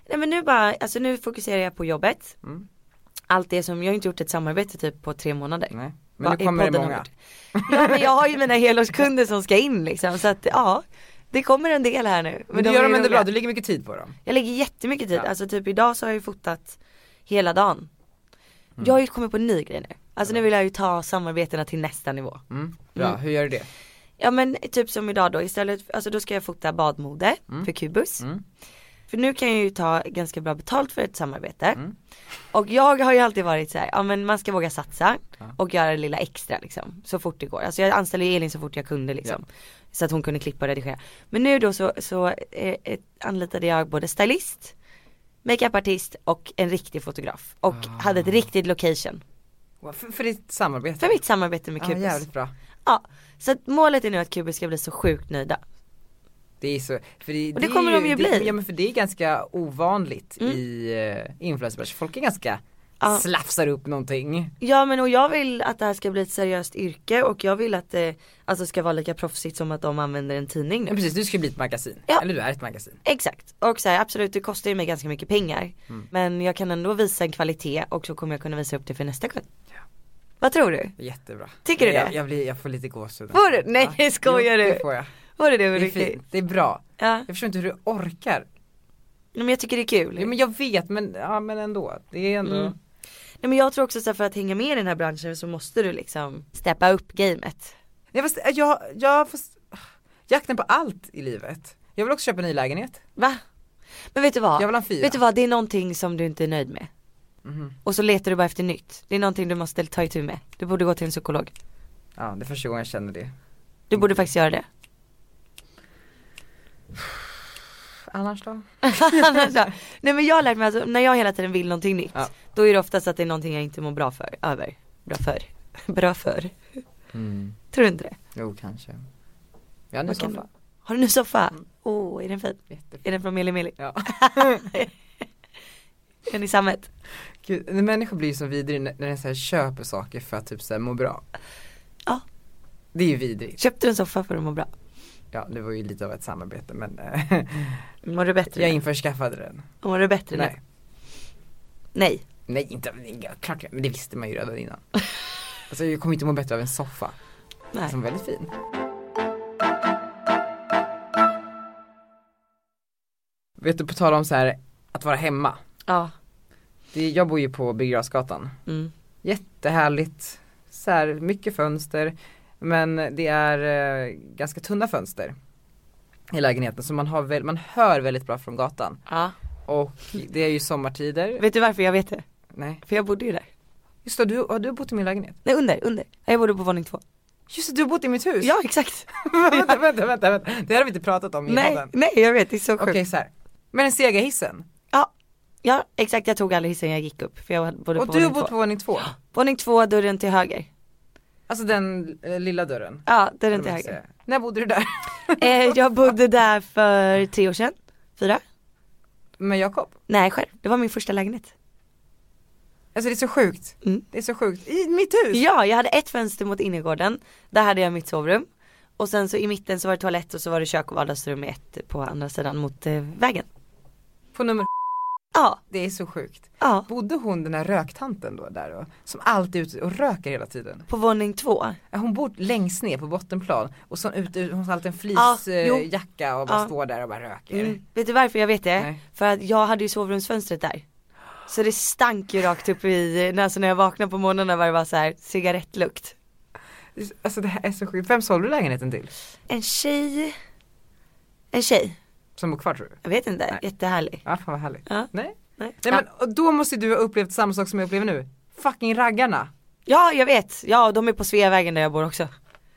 Speaker 2: Nej men nu bara, alltså nu fokuserar jag på jobbet.
Speaker 1: Mm.
Speaker 2: Allt det som, jag har inte gjort ett samarbete typ på tre månader.
Speaker 1: Nej.
Speaker 2: Vad
Speaker 1: Men nu
Speaker 2: är
Speaker 1: kommer det
Speaker 2: podden
Speaker 1: många.
Speaker 2: om Ja men jag har ju mina helårskunder som ska in liksom så att ja. Det kommer en del här nu.
Speaker 1: Men du
Speaker 2: de
Speaker 1: gör
Speaker 2: är
Speaker 1: dem ändå
Speaker 2: roliga.
Speaker 1: bra, du lägger mycket tid på dem.
Speaker 2: Jag lägger jättemycket tid,
Speaker 1: Ja.
Speaker 2: alltså typ idag så har jag ju fotat hela dagen. Jag har ju kommit på en ny grej nu. Alltså nu vill jag ju ta samarbetena till nästa nivå.
Speaker 1: Mm. Bra, hur gör du det?
Speaker 2: Ja men typ som idag då istället, alltså då ska jag fota badmode för Kubus. För nu kan jag ju ta ganska bra betalt för ett samarbete. Och jag har ju alltid varit så här, ja men man ska våga satsa och göra det lilla extra liksom. Så fort det går. Alltså jag anställde ju Elin så fort jag kunde liksom. Så att hon kunde klippa och redigera. Men nu då så, så eh, eh, anlitade jag både stylist, makeupartist och en riktig fotograf. Och hade ett riktigt location.
Speaker 1: För, för ditt samarbete?
Speaker 2: För mitt samarbete med
Speaker 1: Ja,
Speaker 2: Kubus.
Speaker 1: Ah, jävligt bra.
Speaker 2: Ja, så att målet är nu att Kubus ska bli så sjukt nöjda.
Speaker 1: Det är så, för det,
Speaker 2: Och det kommer
Speaker 1: är
Speaker 2: de ju
Speaker 1: det,
Speaker 2: bli. Mm.
Speaker 1: Ja men för det är ganska ovanligt i uh, influencers, folk är ganska
Speaker 2: Ja.
Speaker 1: slafsar upp någonting.
Speaker 2: Ja men och jag vill att det här ska bli ett seriöst yrke och jag vill att det alltså, ska vara lika proffsigt som att de använder en tidning
Speaker 1: Ja,
Speaker 2: nu.
Speaker 1: precis, du ska ju bli ett magasin,
Speaker 2: Ja.
Speaker 1: eller du är ett magasin.
Speaker 2: Exakt, och så här, absolut det kostar ju mig ganska mycket pengar
Speaker 1: Mm.
Speaker 2: men jag kan ändå visa en kvalitet och så kommer jag kunna visa upp det för nästa kund. Vad tror du?
Speaker 1: Jättebra.
Speaker 2: Tycker du
Speaker 1: jag,
Speaker 2: det?
Speaker 1: Jag, blir, jag får lite gåshud.
Speaker 2: Får du? Nej, skojar
Speaker 1: jo,
Speaker 2: du?
Speaker 1: Det får jag.
Speaker 2: Var det det
Speaker 1: Det är
Speaker 2: Ulrika?
Speaker 1: fint, det är bra.
Speaker 2: Ja,
Speaker 1: Jag förstår inte hur du orkar.
Speaker 2: men jag tycker det är kul.
Speaker 1: Ja, men jag vet men, ja, men ändå, det är ändå
Speaker 2: Mm. Nej, men jag tror också så här, för att hänga med i den här branschen så måste du liksom steppa upp gamet.
Speaker 1: Nej fast eh, jag, jag, fast, jakten på allt i livet. Jag vill också köpa en ny lägenhet.
Speaker 2: Va? Men vet du vad?
Speaker 1: Jag vill ha en fyra. Mhm.
Speaker 2: Vet du vad, det är någonting som du inte är nöjd med. Och så letar du bara efter nytt. Det är någonting du måste ta itu med. Du borde gå till en psykolog.
Speaker 1: Ja det är första gången jag känner det.
Speaker 2: Du
Speaker 1: Mm.
Speaker 2: borde faktiskt göra det.
Speaker 1: Annars då?
Speaker 2: Annars så- Nej men jag har lärt mig alltså, när jag hela tiden vill någonting nytt.
Speaker 1: Ja.
Speaker 2: Då är det oftast att det är någonting jag inte mår bra för, över. Bra för. Bra för.
Speaker 1: Mm.
Speaker 2: Tror du inte det?
Speaker 1: Jo kanske. Jag har en ny
Speaker 2: Vad kan det
Speaker 1: soffa.
Speaker 2: vara? Har du en ny soffa? Åh, är den fin?
Speaker 1: Mm. Jättefin.
Speaker 2: Är den från Milli Milli?
Speaker 1: Ja.
Speaker 2: Är ni sammet?
Speaker 1: Gud, när människor blir ju så vidrig när när de så här köper saker för att typ så här må bra.
Speaker 2: Ja.
Speaker 1: Det är ju vidrigt.
Speaker 2: Köpte du en soffa för att må bra?
Speaker 1: Ja det var ju lite av ett samarbete men eh,
Speaker 2: Mår du bättre
Speaker 1: jag
Speaker 2: nu?
Speaker 1: införskaffade den.
Speaker 2: Mår du bättre nu?
Speaker 1: Nej.
Speaker 2: Nej.
Speaker 1: Nej inte, klart jag- men det visste man ju redan innan. Alltså jag kommer inte må bättre av en soffa
Speaker 2: Nej.
Speaker 1: som är väldigt fin. Vet du på tal om så här att vara hemma.
Speaker 2: Ja.
Speaker 1: Det, är- jag bor ju på Birger Jarlsgatan.
Speaker 2: Mm.
Speaker 1: Jättehärligt, så här mycket fönster men det är eh, ganska tunna fönster i lägenheten så man, har väl, man hör väldigt bra från gatan
Speaker 2: Ja.
Speaker 1: och det är ju sommartider.
Speaker 2: Vet du varför jag vet det?
Speaker 1: Nej.
Speaker 2: För jag bodde ju där.
Speaker 1: Just det, du, har du bott i min lägenhet?
Speaker 2: Nej under, under. Ja, Jag bodde på våning två.
Speaker 1: Just det, du har bott i mitt hus?
Speaker 2: Ja exakt.
Speaker 1: vänta, vänta, vänta, vänta, det har vi inte pratat om i
Speaker 2: nej,
Speaker 1: podden.
Speaker 2: nej jag vet, det är så sjukt.
Speaker 1: Okej så här. men den sega hissen.
Speaker 2: Ja, ja exakt jag tog aldrig hissen jag gick upp för jag bodde
Speaker 1: Och
Speaker 2: på
Speaker 1: du har
Speaker 2: våning
Speaker 1: bott på
Speaker 2: två.
Speaker 1: våning två.
Speaker 2: Våning två, dörren till höger.
Speaker 1: Alltså den eh, lilla dörren.
Speaker 2: Ja,
Speaker 1: Eller
Speaker 2: dörren
Speaker 1: vad
Speaker 2: till
Speaker 1: man
Speaker 2: höger.
Speaker 1: säger. När bodde du där?
Speaker 2: Eh, jag bodde där för tre år sedan. Fyra?
Speaker 1: Med Jakob?
Speaker 2: Nej själv, det var min första lägenhet.
Speaker 1: Alltså det är så sjukt.
Speaker 2: Mm.
Speaker 1: Det är så sjukt. I mitt hus!
Speaker 2: Ja, jag hade ett fönster mot innergården. Där hade jag mitt sovrum. Och sen så i mitten så var det toalett och så var det kök och vardagsrum i ett på andra sidan mot eh, vägen.
Speaker 1: På nummer
Speaker 2: Ja,
Speaker 1: Det är så sjukt.
Speaker 2: ja.
Speaker 1: Bodde hon den här röktanten då där då? Som alltid är ute och röker hela tiden.
Speaker 2: På våning två.
Speaker 1: Hon bor längst ner på bottenplan och så ute, hon har alltid en
Speaker 2: Ja, jo.
Speaker 1: fleecejacka och bara
Speaker 2: Ja.
Speaker 1: står där och bara röker.
Speaker 2: Mm. Vet du varför jag vet det?
Speaker 1: Nej.
Speaker 2: För att jag hade ju sovrumsfönstret där. Så det stank ju rakt upp i, när- alltså när jag vaknade på morgonen var det bara så här cigarettlukt.
Speaker 1: Alltså det här är så sjukt. Vem sålde du lägenheten till?
Speaker 2: En tjej, en tjej,
Speaker 1: Som bor kvar tror du?
Speaker 2: jag vet inte,
Speaker 1: Nej.
Speaker 2: jättehärlig.
Speaker 1: Ja fan vad härligt.
Speaker 2: Ja.
Speaker 1: Nej.
Speaker 2: Nej.
Speaker 1: Nej men och då måste du ha upplevt samma sak som jag upplever nu. Fucking raggarna.
Speaker 2: Ja jag vet, ja de är på Sveavägen där jag bor också.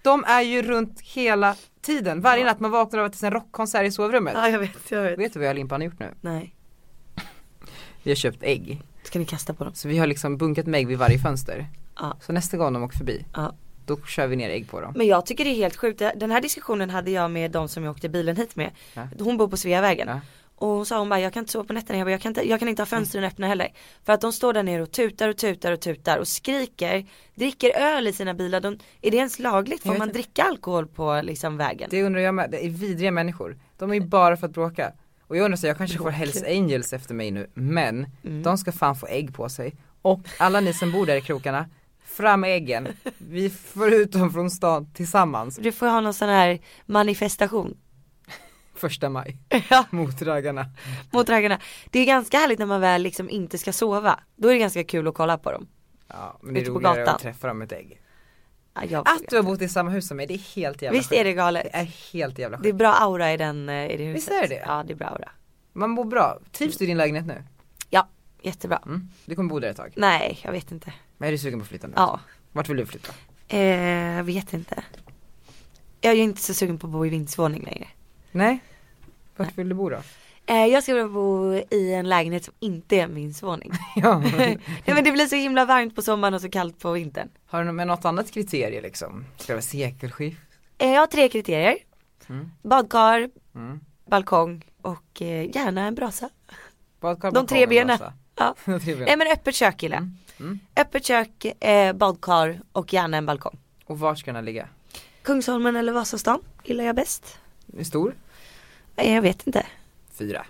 Speaker 1: De är ju runt hela tiden. Varje natt man vaknar av att det är en rockkonsert i sovrummet.
Speaker 2: Ja jag vet, jag vet.
Speaker 1: Vet du vad jag och Limpan har gjort nu?
Speaker 2: Nej,
Speaker 1: Vi har köpt ägg.
Speaker 2: ska ni kasta på dem?
Speaker 1: Så vi har liksom bunkat med ägg vid varje fönster.
Speaker 2: Ja.
Speaker 1: Så nästa gång de åker förbi,
Speaker 2: Ja.
Speaker 1: då kör vi ner ägg på dem.
Speaker 2: Men jag tycker det är helt sjukt, den här diskussionen hade jag med de som jag åkte bilen hit med.
Speaker 1: Ja.
Speaker 2: Hon bor på Sveavägen.
Speaker 1: Ja.
Speaker 2: Och hon sa hon bara jag kan inte sova på nätterna, jag, bara, jag, kan inte, jag kan inte ha fönstren
Speaker 1: Mm.
Speaker 2: öppna heller. För att de står där nere och tutar och tutar och tutar och skriker, dricker öl i sina bilar. De, är det ens lagligt? Får
Speaker 1: vet
Speaker 2: man
Speaker 1: inte.
Speaker 2: dricka alkohol på liksom vägen?
Speaker 1: Det undrar jag med, det är vidriga människor. De är ju bara för att bråka. Och jag undrar så jag kanske får Hells Angels efter mig nu, men
Speaker 2: Mm.
Speaker 1: de ska fan få ägg på sig. Och alla ni som bor där i krokarna, fram med äggen. Vi får ut dem från stan tillsammans
Speaker 2: Du får ha någon sån här manifestation.
Speaker 1: första maj
Speaker 2: Ja.
Speaker 1: mot raggarna.
Speaker 2: mot raggarna. Det är ganska härligt när man väl liksom inte ska sova. Då är det ganska kul att kolla på dem.
Speaker 1: Ja, men det är
Speaker 2: Ute på
Speaker 1: roligare
Speaker 2: gatan.
Speaker 1: att träffa dem med ett ägg.
Speaker 2: Ja, jag
Speaker 1: Att
Speaker 2: vet.
Speaker 1: du har bott i samma hus som mig, det är helt jävla
Speaker 2: Visst är det
Speaker 1: sjukt.
Speaker 2: galet?
Speaker 1: Det är helt jävla
Speaker 2: Det är
Speaker 1: sjukt.
Speaker 2: bra aura i, den, eh, i det huset.
Speaker 1: Visst är det?
Speaker 2: Ja det är bra aura.
Speaker 1: Man mår bra. Trivs du i din lägenhet nu?
Speaker 2: Ja, jättebra.
Speaker 1: Mm. Du kommer bo där ett tag.
Speaker 2: Nej, jag vet inte.
Speaker 1: Men är du sugen på att flytta nu?
Speaker 2: Ja,
Speaker 1: Vart vill du flytta?
Speaker 2: eh, jag vet inte. Jag är inte så sugen på att bo i vindsvåning längre.
Speaker 1: Nej? Vart vill du bo då?
Speaker 2: Eh, jag ska vilja bo i en lägenhet som inte är en vindsvåning.
Speaker 1: Ja,
Speaker 2: Nej men det blir så himla varmt på sommaren och så kallt på vintern.
Speaker 1: Har du med något annat kriterie liksom? Ska det vara sekelskift?
Speaker 2: Eh, jag har tre kriterier. Badkar,
Speaker 1: Mm.
Speaker 2: balkong och eh, gärna en brasa.
Speaker 1: Badkar,
Speaker 2: De tre
Speaker 1: balkong,
Speaker 2: benen.
Speaker 1: brasa?
Speaker 2: Ja.
Speaker 1: De tre
Speaker 2: Nej
Speaker 1: benen.
Speaker 2: men öppet kök gillar jag.
Speaker 1: Mm.
Speaker 2: Öppet kök, eh, badkar och gärna en balkong.
Speaker 1: Och vart ska den ligga?
Speaker 2: Kungsholmen eller Vasastan gillar jag bäst.
Speaker 1: Hur stor?
Speaker 2: Eh, jag vet inte.
Speaker 1: Fyra.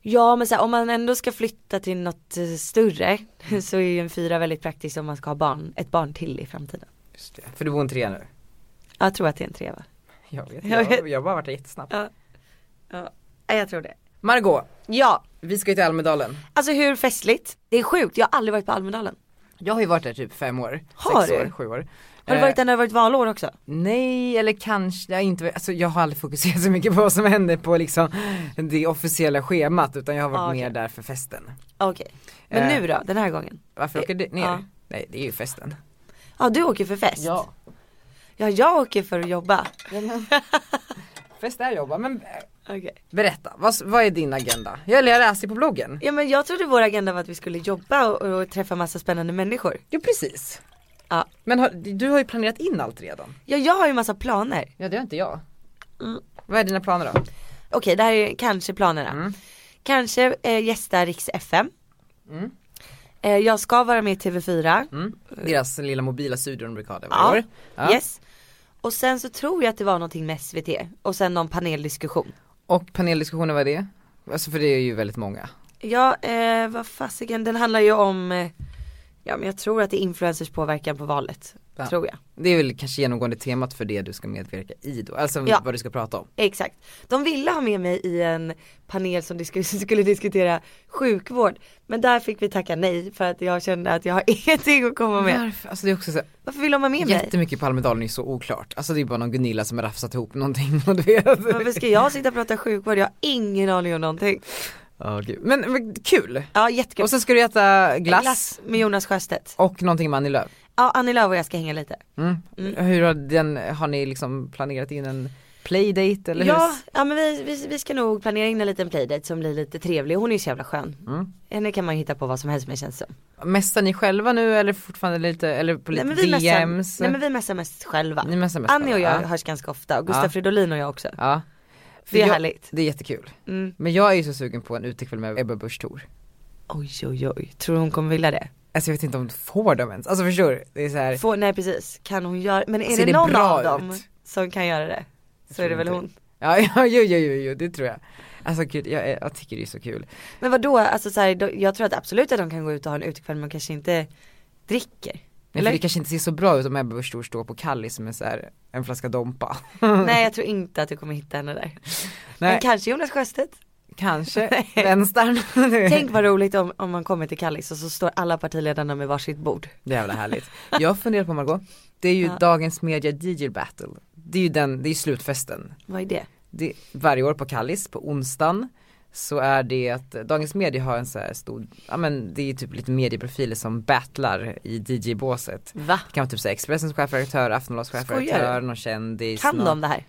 Speaker 2: Ja men så här, om man ändå ska flytta till något eh, större så är ju en fyra väldigt praktiskt om man ska ha barn, ett barn till i framtiden.
Speaker 1: Just det. För du bor i en trea nu?
Speaker 2: Ja, Jag tror att det är en trea va?
Speaker 1: Jag vet,
Speaker 2: Jag
Speaker 1: jag,
Speaker 2: vet.
Speaker 1: jag, har bara varit där jättesnabbt.
Speaker 2: Ja, jag tror det.
Speaker 1: Margot,
Speaker 2: Ja,
Speaker 1: vi ska ju till Almedalen.
Speaker 2: alltså hur festligt? Det är sjukt, jag har aldrig varit på Almedalen.
Speaker 1: Jag har ju varit där typ fem år,
Speaker 2: Har
Speaker 1: sex
Speaker 2: du?
Speaker 1: år, sju år.
Speaker 2: Har du
Speaker 1: Eh,
Speaker 2: varit där när det har varit valår också?
Speaker 1: Nej, eller kanske, jag, inte, alltså, jag har aldrig fokuserat så mycket på vad som händer på liksom det officiella schemat utan jag har varit
Speaker 2: Ah, okej.
Speaker 1: mer där för festen.
Speaker 2: Okej. Men
Speaker 1: Eh.
Speaker 2: nu då, den här gången?
Speaker 1: Varför
Speaker 2: Eh,
Speaker 1: åker du ner?
Speaker 2: ja.
Speaker 1: Nej, det är ju festen.
Speaker 2: Ja du åker för fest? Ja jag åker för att jobba.
Speaker 1: Fest är jobba, men eh,
Speaker 2: Okej.
Speaker 1: berätta, vad, vad är din agenda? Jag, eller jag läste ju på bloggen.
Speaker 2: Ja men jag trodde vår agenda var att vi skulle jobba och, och träffa massa spännande människor.
Speaker 1: Jo precis.
Speaker 2: Ja.
Speaker 1: Men har, du har ju planerat in allt redan.
Speaker 2: Ja jag har ju massa planer.
Speaker 1: Ja det har inte jag.
Speaker 2: Mm.
Speaker 1: Vad är dina planer då?
Speaker 2: Okej det här är kanske planerna.
Speaker 1: Mm.
Speaker 2: Kanske eh, gästa Riks FM.
Speaker 1: Mm.
Speaker 2: Eh, jag ska vara med i TV4.
Speaker 1: Deras lilla mobila studio de brukar ha där varje
Speaker 2: Ja.
Speaker 1: år. Mm. Ja.
Speaker 2: Eh, Yes. Och sen så tror jag att det var någonting med SVT och sen någon paneldiskussion.
Speaker 1: Och paneldiskussioner, vad är det? Alltså för det är ju väldigt många.
Speaker 2: Ja eh, vad fasiken den handlar ju om eh, Ja men jag tror att det är influencers påverkan på valet.
Speaker 1: Ja.
Speaker 2: Tror jag.
Speaker 1: Det är väl kanske genomgående temat för det du ska medverka i då, alltså
Speaker 2: Ja.
Speaker 1: vad du ska prata om.
Speaker 2: Exakt. De ville ha med mig i en panel som disku- som skulle diskutera sjukvård. Men där fick vi tacka nej för att jag kände att jag har ingenting att komma med.
Speaker 1: Varför? Alltså det är också så här,
Speaker 2: Varför vill de ha med mig?
Speaker 1: jättemycket på Almedalen är så oklart. Alltså det är bara någon Gunilla som har rafsat ihop någonting och du vet.
Speaker 2: Varför ska jag sitta och prata sjukvård? Jag har ingen aning om någonting.
Speaker 1: Ja, gud. men, men kul!
Speaker 2: Ja jättekul.
Speaker 1: Och sen ska du äta glass,
Speaker 2: med Jonas Sjöstedt.
Speaker 1: och någonting med Annie Lööf.
Speaker 2: Ja Annie Lööf och jag ska hänga lite.
Speaker 1: Mm. Hur har den, har ni liksom planerat in en playdate eller
Speaker 2: Ja,
Speaker 1: hur?
Speaker 2: ja men vi, vi, vi ska nog planera in en liten playdate som blir lite trevlig. Hon är ju så jävla skön.
Speaker 1: Mm.
Speaker 2: Henne kan man ju hitta på vad som helst med känns det som.
Speaker 1: Mässar ni själva nu eller fortfarande lite, eller på lite
Speaker 2: Nej men vi
Speaker 1: DMs?
Speaker 2: messar, nej men vi messar mest själva.
Speaker 1: Ni messar mest
Speaker 2: Annie och jag
Speaker 1: själva, ja.
Speaker 2: hörs ganska ofta och Gustav
Speaker 1: Ja.
Speaker 2: Fridolin och jag också.
Speaker 1: Ja. För
Speaker 2: Det är
Speaker 1: jag-
Speaker 2: härligt.
Speaker 1: Det är jättekul.
Speaker 2: Mm.
Speaker 1: Men jag är ju så sugen på en utekväll med Ebba Busch Thor.
Speaker 2: Oj oj oj, tror du hon kommer vilja det?
Speaker 1: Alltså jag vet inte om du får dem ens, alltså förstår du? Det är så här,
Speaker 2: Får, nej precis, kan hon göra, men är
Speaker 1: Ser
Speaker 2: det,
Speaker 1: det
Speaker 2: någon
Speaker 1: bra
Speaker 2: av
Speaker 1: ut?
Speaker 2: dem som kan göra det? Så är det
Speaker 1: tror
Speaker 2: väl
Speaker 1: inte.
Speaker 2: hon.
Speaker 1: ja, ja jo, jo, jo, jo, det tror jag. Alltså gud, jag, är- jag tycker det är så kul.
Speaker 2: Men vadå, alltså så här, då, jag tror att absolut att de kan gå ut och ha en utekväll men kanske inte dricker.
Speaker 1: Men för det kanske inte ser så bra ut om Ebba Busch Thor står på Kallis med så här, en flaska Dompa.
Speaker 2: Nej jag tror inte att du kommer hitta henne där.
Speaker 1: Mm. Nej,
Speaker 2: Men kanske Jonas Sjöstedt.
Speaker 1: kanske vänstern.
Speaker 2: Tänk vad roligt om, om man kommer till Kallis och så står alla partiledarna med varsitt bord.
Speaker 1: Jävla härligt. Jag funderar på Margot, det är ju
Speaker 2: Ja.
Speaker 1: dagens media DJ battle. Det är ju den, det är slutfesten.
Speaker 2: Vad är det?
Speaker 1: Det, varje år på Kallis på onsdagen så är det att eh, Dagens Media har en så här stor, ja men det är typ lite medieprofiler som battlar i DJ-båset.
Speaker 2: Va?
Speaker 1: Det kan vara typ så här Expressens chefredaktör, Aftonbladets
Speaker 2: Skojar
Speaker 1: chefredaktör,
Speaker 2: du?
Speaker 1: någon kändis.
Speaker 2: Kan
Speaker 1: någon,
Speaker 2: de det här?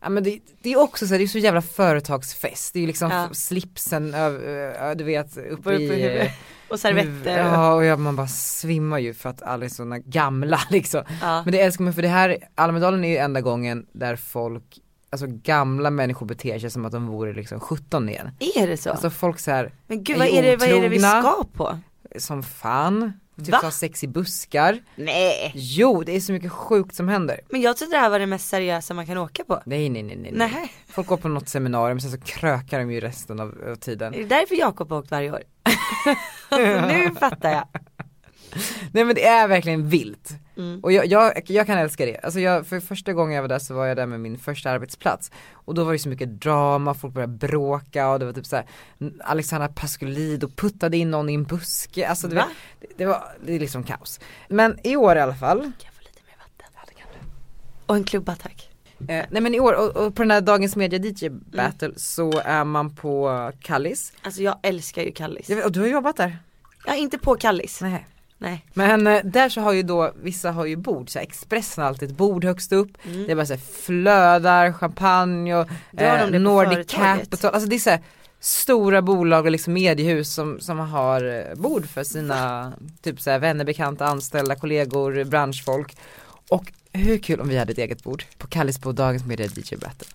Speaker 1: Ja men det, det är också så här, det är så jävla företagsfest. Det är ju liksom
Speaker 2: Ja.
Speaker 1: f- slipsen, öv, ö, du vet,
Speaker 2: Uppe
Speaker 1: uppe
Speaker 2: i
Speaker 1: i
Speaker 2: huvudet.
Speaker 1: eh,
Speaker 2: Och servetter?
Speaker 1: Ja och jag, man bara svimmar ju för att alla är såna gamla liksom.
Speaker 2: Ja.
Speaker 1: Men det älskar man för det här, Almedalen är ju enda gången där folk, alltså gamla människor beter sig som att de vore liksom 17 igen.
Speaker 2: Är det så?
Speaker 1: Alltså folk så här,
Speaker 2: men gud vad är, det, vad är det vi
Speaker 1: otrogna
Speaker 2: ska på?
Speaker 1: som fan, typ
Speaker 2: Va?
Speaker 1: har sex i buskar.
Speaker 2: Nej.
Speaker 1: Jo, det är så mycket sjukt som händer.
Speaker 2: Men jag trodde det här var det mest seriösa man kan åka på.
Speaker 1: Nej nej nej nej. nej.
Speaker 2: Nej.
Speaker 1: Folk går på något seminarium sen så krökar de ju resten av, av tiden.
Speaker 2: Är det därför Jakob har åkt varje år? alltså, nu fattar jag.
Speaker 1: Nej men det är verkligen vilt.
Speaker 2: Mm.
Speaker 1: Och jag, jag, jag kan älska det. Alltså jag, för första gången jag var där så var jag där med min första arbetsplats. Och då var det så mycket drama, folk började bråka och det var typ såhär Alexandra Pascolido puttade in någon i en buske. Alltså du
Speaker 2: Va?
Speaker 1: vet, det, det var, det är liksom kaos. Men i år i alla fall.
Speaker 2: Kan jag få lite mer vatten? Ja det kan du. Och en klubba tack.
Speaker 1: Eh, nej men i år, och, och på den här Dagens Media DJ
Speaker 2: Mm.
Speaker 1: Battle så är man på Kallis.
Speaker 2: Alltså jag älskar ju Kallis.
Speaker 1: Jag vet, och du har jobbat där?
Speaker 2: Ja inte på Kallis. Nej.
Speaker 1: Nej. Men eh, där så har ju då, vissa har ju bord, så här, Expressen har alltid ett bord högst upp, det är bara så här, flödar, champagne och
Speaker 2: Mm.
Speaker 1: eh,
Speaker 2: Drar de det på
Speaker 1: Nordic
Speaker 2: företaget?
Speaker 1: Capital, alltså det är så här, stora bolag och liksom mediehus som, som har eh, bord för sina typ så här, vänner, bekanta, anställda, kollegor, branschfolk. Och hur kul om vi hade ett eget bord på Kallis på Dagens Media DJ Battle.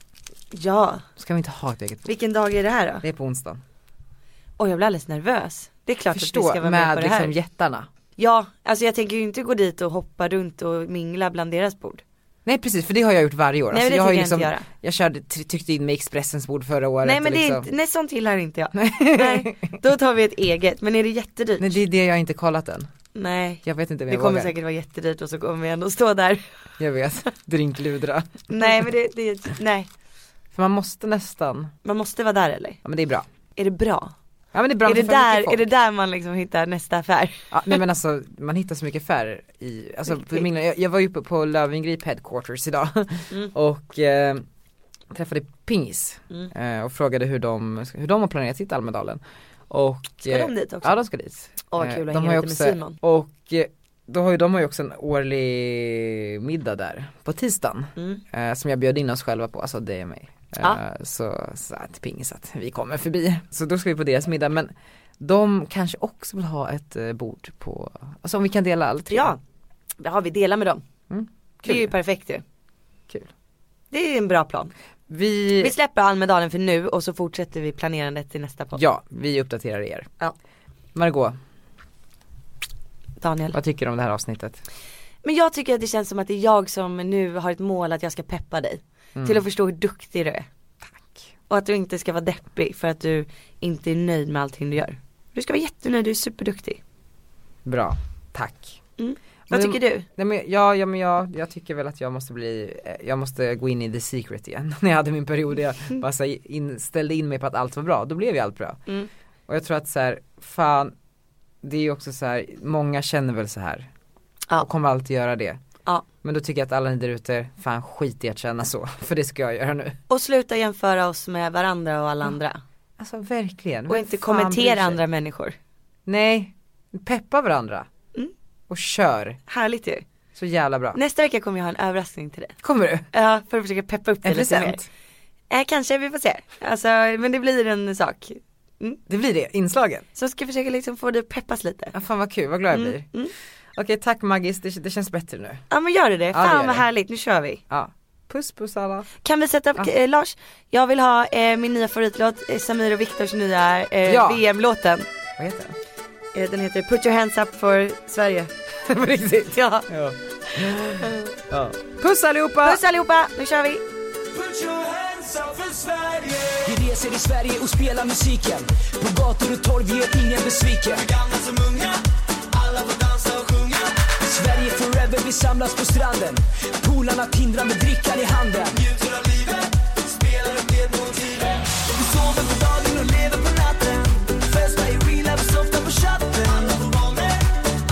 Speaker 2: Ja.
Speaker 1: Ska vi inte ha ett eget bord?
Speaker 2: Vilken dag är det här då?
Speaker 1: Det är på onsdag.
Speaker 2: Och jag blir alldeles nervös. Det är klart att vi
Speaker 1: Förstå
Speaker 2: ska vara
Speaker 1: med,
Speaker 2: med, på det här.
Speaker 1: liksom jättarna.
Speaker 2: Ja, alltså jag tänker ju inte gå dit och hoppa runt och mingla bland deras bord.
Speaker 1: Nej precis för det har jag gjort varje år. Alltså,
Speaker 2: Nej, men det
Speaker 1: jag har ju liksom-
Speaker 2: tänker jag inte göra.
Speaker 1: jag körde, ty- tyckte in mig i Expressens bord förra året.
Speaker 2: nej men det
Speaker 1: och
Speaker 2: är
Speaker 1: liksom.
Speaker 2: inte, nej sånt gillar inte jag. nej, då tar vi ett eget. Men är det jättedyrt?
Speaker 1: Nej det är det jag inte kollat än.
Speaker 2: nej.
Speaker 1: Jag vet inte om
Speaker 2: Det
Speaker 1: jag
Speaker 2: kommer
Speaker 1: vågar.
Speaker 2: säkert vara jättedyrt och så kommer vi ändå stå där.
Speaker 1: Jag vet, drinkludra.
Speaker 2: Nej men det, det, nej.
Speaker 1: För man måste nästan,
Speaker 2: Man måste vara där eller?
Speaker 1: ja men det är bra.
Speaker 2: Är det bra?
Speaker 1: Ja men det är bra
Speaker 2: är,
Speaker 1: om
Speaker 2: det
Speaker 1: för mycket
Speaker 2: där, är
Speaker 1: folk.
Speaker 2: det där man liksom hittar nästa affär?
Speaker 1: Ja, nej men alltså man hittar så mycket affärer i, alltså på min, jag, jag var ju uppe på Löwengrip headquarters idag
Speaker 2: Mm.
Speaker 1: och eh, träffade Pingis
Speaker 2: Mm.
Speaker 1: eh, och frågade hur de, hur de har planerat sitt Almedalen. Och,
Speaker 2: Ska
Speaker 1: eh,
Speaker 2: de dit också?
Speaker 1: Ja de ska dit.
Speaker 2: Åh, vad
Speaker 1: Eh,
Speaker 2: kul att
Speaker 1: de
Speaker 2: hänga
Speaker 1: har ju
Speaker 2: lite med
Speaker 1: också,
Speaker 2: Simon.
Speaker 1: Och eh, då har ju, de har ju också en årlig middag där på tisdagen eh, som jag bjöd in oss själva på, alltså dig och mig. Eh,
Speaker 2: Mm. Ja.
Speaker 1: Så, så att pingis att vi kommer förbi. Så då ska vi på deras middag men de kanske också vill ha ett eh, bord på, alltså om vi kan dela alla tre.
Speaker 2: Ja, ja vi delar med dem. Mm. Det är ju
Speaker 1: Kul.
Speaker 2: perfekt ju.
Speaker 1: Kul.
Speaker 2: Det är en bra plan.
Speaker 1: Vi,
Speaker 2: Vi släpper Almedalen för nu och så fortsätter vi planerandet till nästa podd.
Speaker 1: ja, vi uppdaterar er.
Speaker 2: Ja.
Speaker 1: Margot,
Speaker 2: Daniel.
Speaker 1: vad tycker du om det här avsnittet?
Speaker 2: Men jag tycker att det känns som att det är jag som nu har ett mål att jag ska peppa dig. Till att förstå hur duktig du är. Mm. Tack. Och att du inte ska vara deppig för att du inte är nöjd med allting du gör. Du ska vara jättenöjd, du är superduktig.
Speaker 1: Bra, tack.
Speaker 2: Vad
Speaker 1: Men-
Speaker 2: Mm. tycker du?
Speaker 1: Nej, men, ja, ja men jag, jag tycker väl att jag måste bli, eh, jag måste gå in i the secret igen. När jag hade min period där jag
Speaker 2: Mm.
Speaker 1: bara så här in, ställde in mig på att allt var bra, då blev ju allt bra.
Speaker 2: Mm.
Speaker 1: Och jag tror att så här, fan, det är ju också så här, många känner väl så här.
Speaker 2: Ja.
Speaker 1: Och kommer alltid göra det.
Speaker 2: Ja.
Speaker 1: Men då tycker jag att alla ni där ute, fan skit i att känna så, för det ska jag göra nu.
Speaker 2: Och sluta jämföra oss med varandra och alla andra.
Speaker 1: Alltså verkligen.
Speaker 2: Och
Speaker 1: vem
Speaker 2: inte
Speaker 1: fan bryr
Speaker 2: kommentera
Speaker 1: sig?
Speaker 2: andra människor.
Speaker 1: Nej, peppa varandra. Och kör,
Speaker 2: Härligt ju.
Speaker 1: så jävla bra.
Speaker 2: Nästa vecka kommer jag ha en överraskning till dig.
Speaker 1: Kommer du?
Speaker 2: Ja, för att försöka peppa upp dig
Speaker 1: En
Speaker 2: lite mer.
Speaker 1: present?
Speaker 2: Eh, kanske, vi får se. Alltså, men det blir en sak.
Speaker 1: Det blir det, inslagen.
Speaker 2: Så ska jag försöka liksom få dig att peppas lite.
Speaker 1: Ja, fan vad kul, vad glad jag blir. Okej tack Maggis, det, det känns bättre nu.
Speaker 2: Ja men gör du det,
Speaker 1: det
Speaker 2: fan
Speaker 1: gör
Speaker 2: vad
Speaker 1: det.
Speaker 2: härligt, nu kör vi.
Speaker 1: Ja. Puss puss alla.
Speaker 2: Kan vi sätta upp, eh, Lars, jag vill ha eh, min nya favoritlåt, eh, Samir och Viktors nya eh,
Speaker 1: Ja.
Speaker 2: VM-låten.
Speaker 1: Vad heter den?
Speaker 2: Eh, den heter Put your hands up for Sverige.
Speaker 1: På riktigt.
Speaker 2: Ja.
Speaker 1: Ja. ja. Puss allihopa!
Speaker 2: Puss allihopa, nu kör vi.
Speaker 6: Vi reser i Sverige och spelar musiken På gator och torg, vi gör ingen besviken För gamla som unga, alla får dansa och sjunga Sverige forever, vi samlas på stranden Polarna tindrar med drickan i handen Njuter av livet, spelar upp det motivet Vi sover på dagen och lever på natten Festar i real life och softar på chatten Alla får barnen,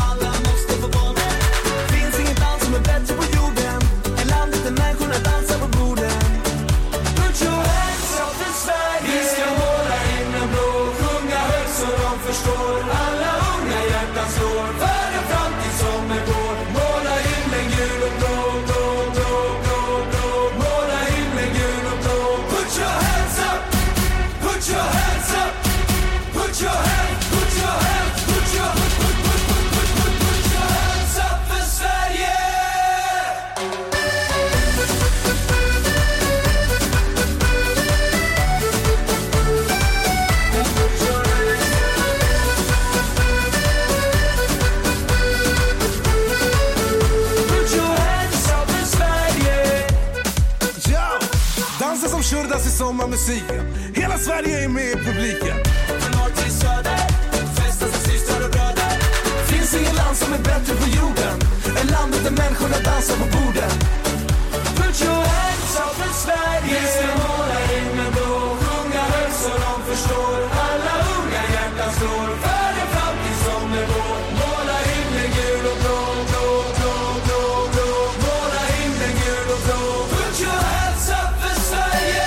Speaker 6: alla måste få barnen Finns inget land som är bättre på jorden Än landet där människorna dansar på borden Put your hands up för Sverige Vi ska måla himlen blå Sjunga högt så de förstår Alla unga hjärtan slår För en framtid som är vår Måla himlen gul och blå, blå, blå, blå, blå Måla himlen gul
Speaker 7: musiken. Hela Sverige är med i publiken. Från norr till söder, festar som systrar och bröder. Finns inget land som är bättre på jorden än landet där människorna dansar på borden. Put your hands up för Sverige. Vi ska måla in men då sjunga högt så de förstår. Alla unga hjärtan slår för en framtid som är vår. Måla himlen gul och blå, blå, blå, blå, blå. Måla himlen gul och blå. Put your hands up för Sverige.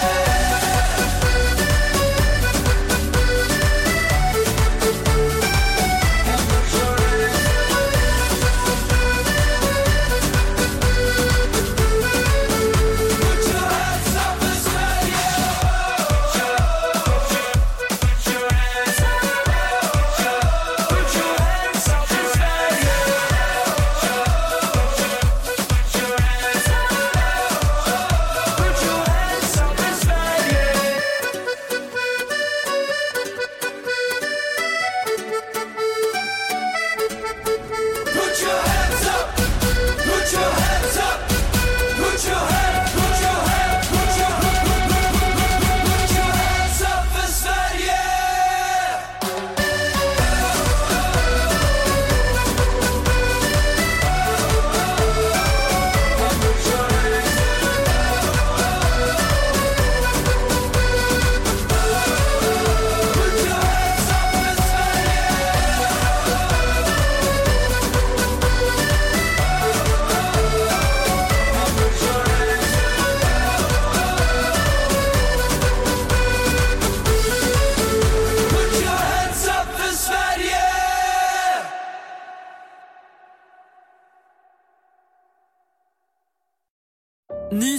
Speaker 7: Put your hands up, put your hands up, put your hand, put your hand, put your put your hands up för Sverige! Put your hands up för Sverige!
Speaker 8: Ny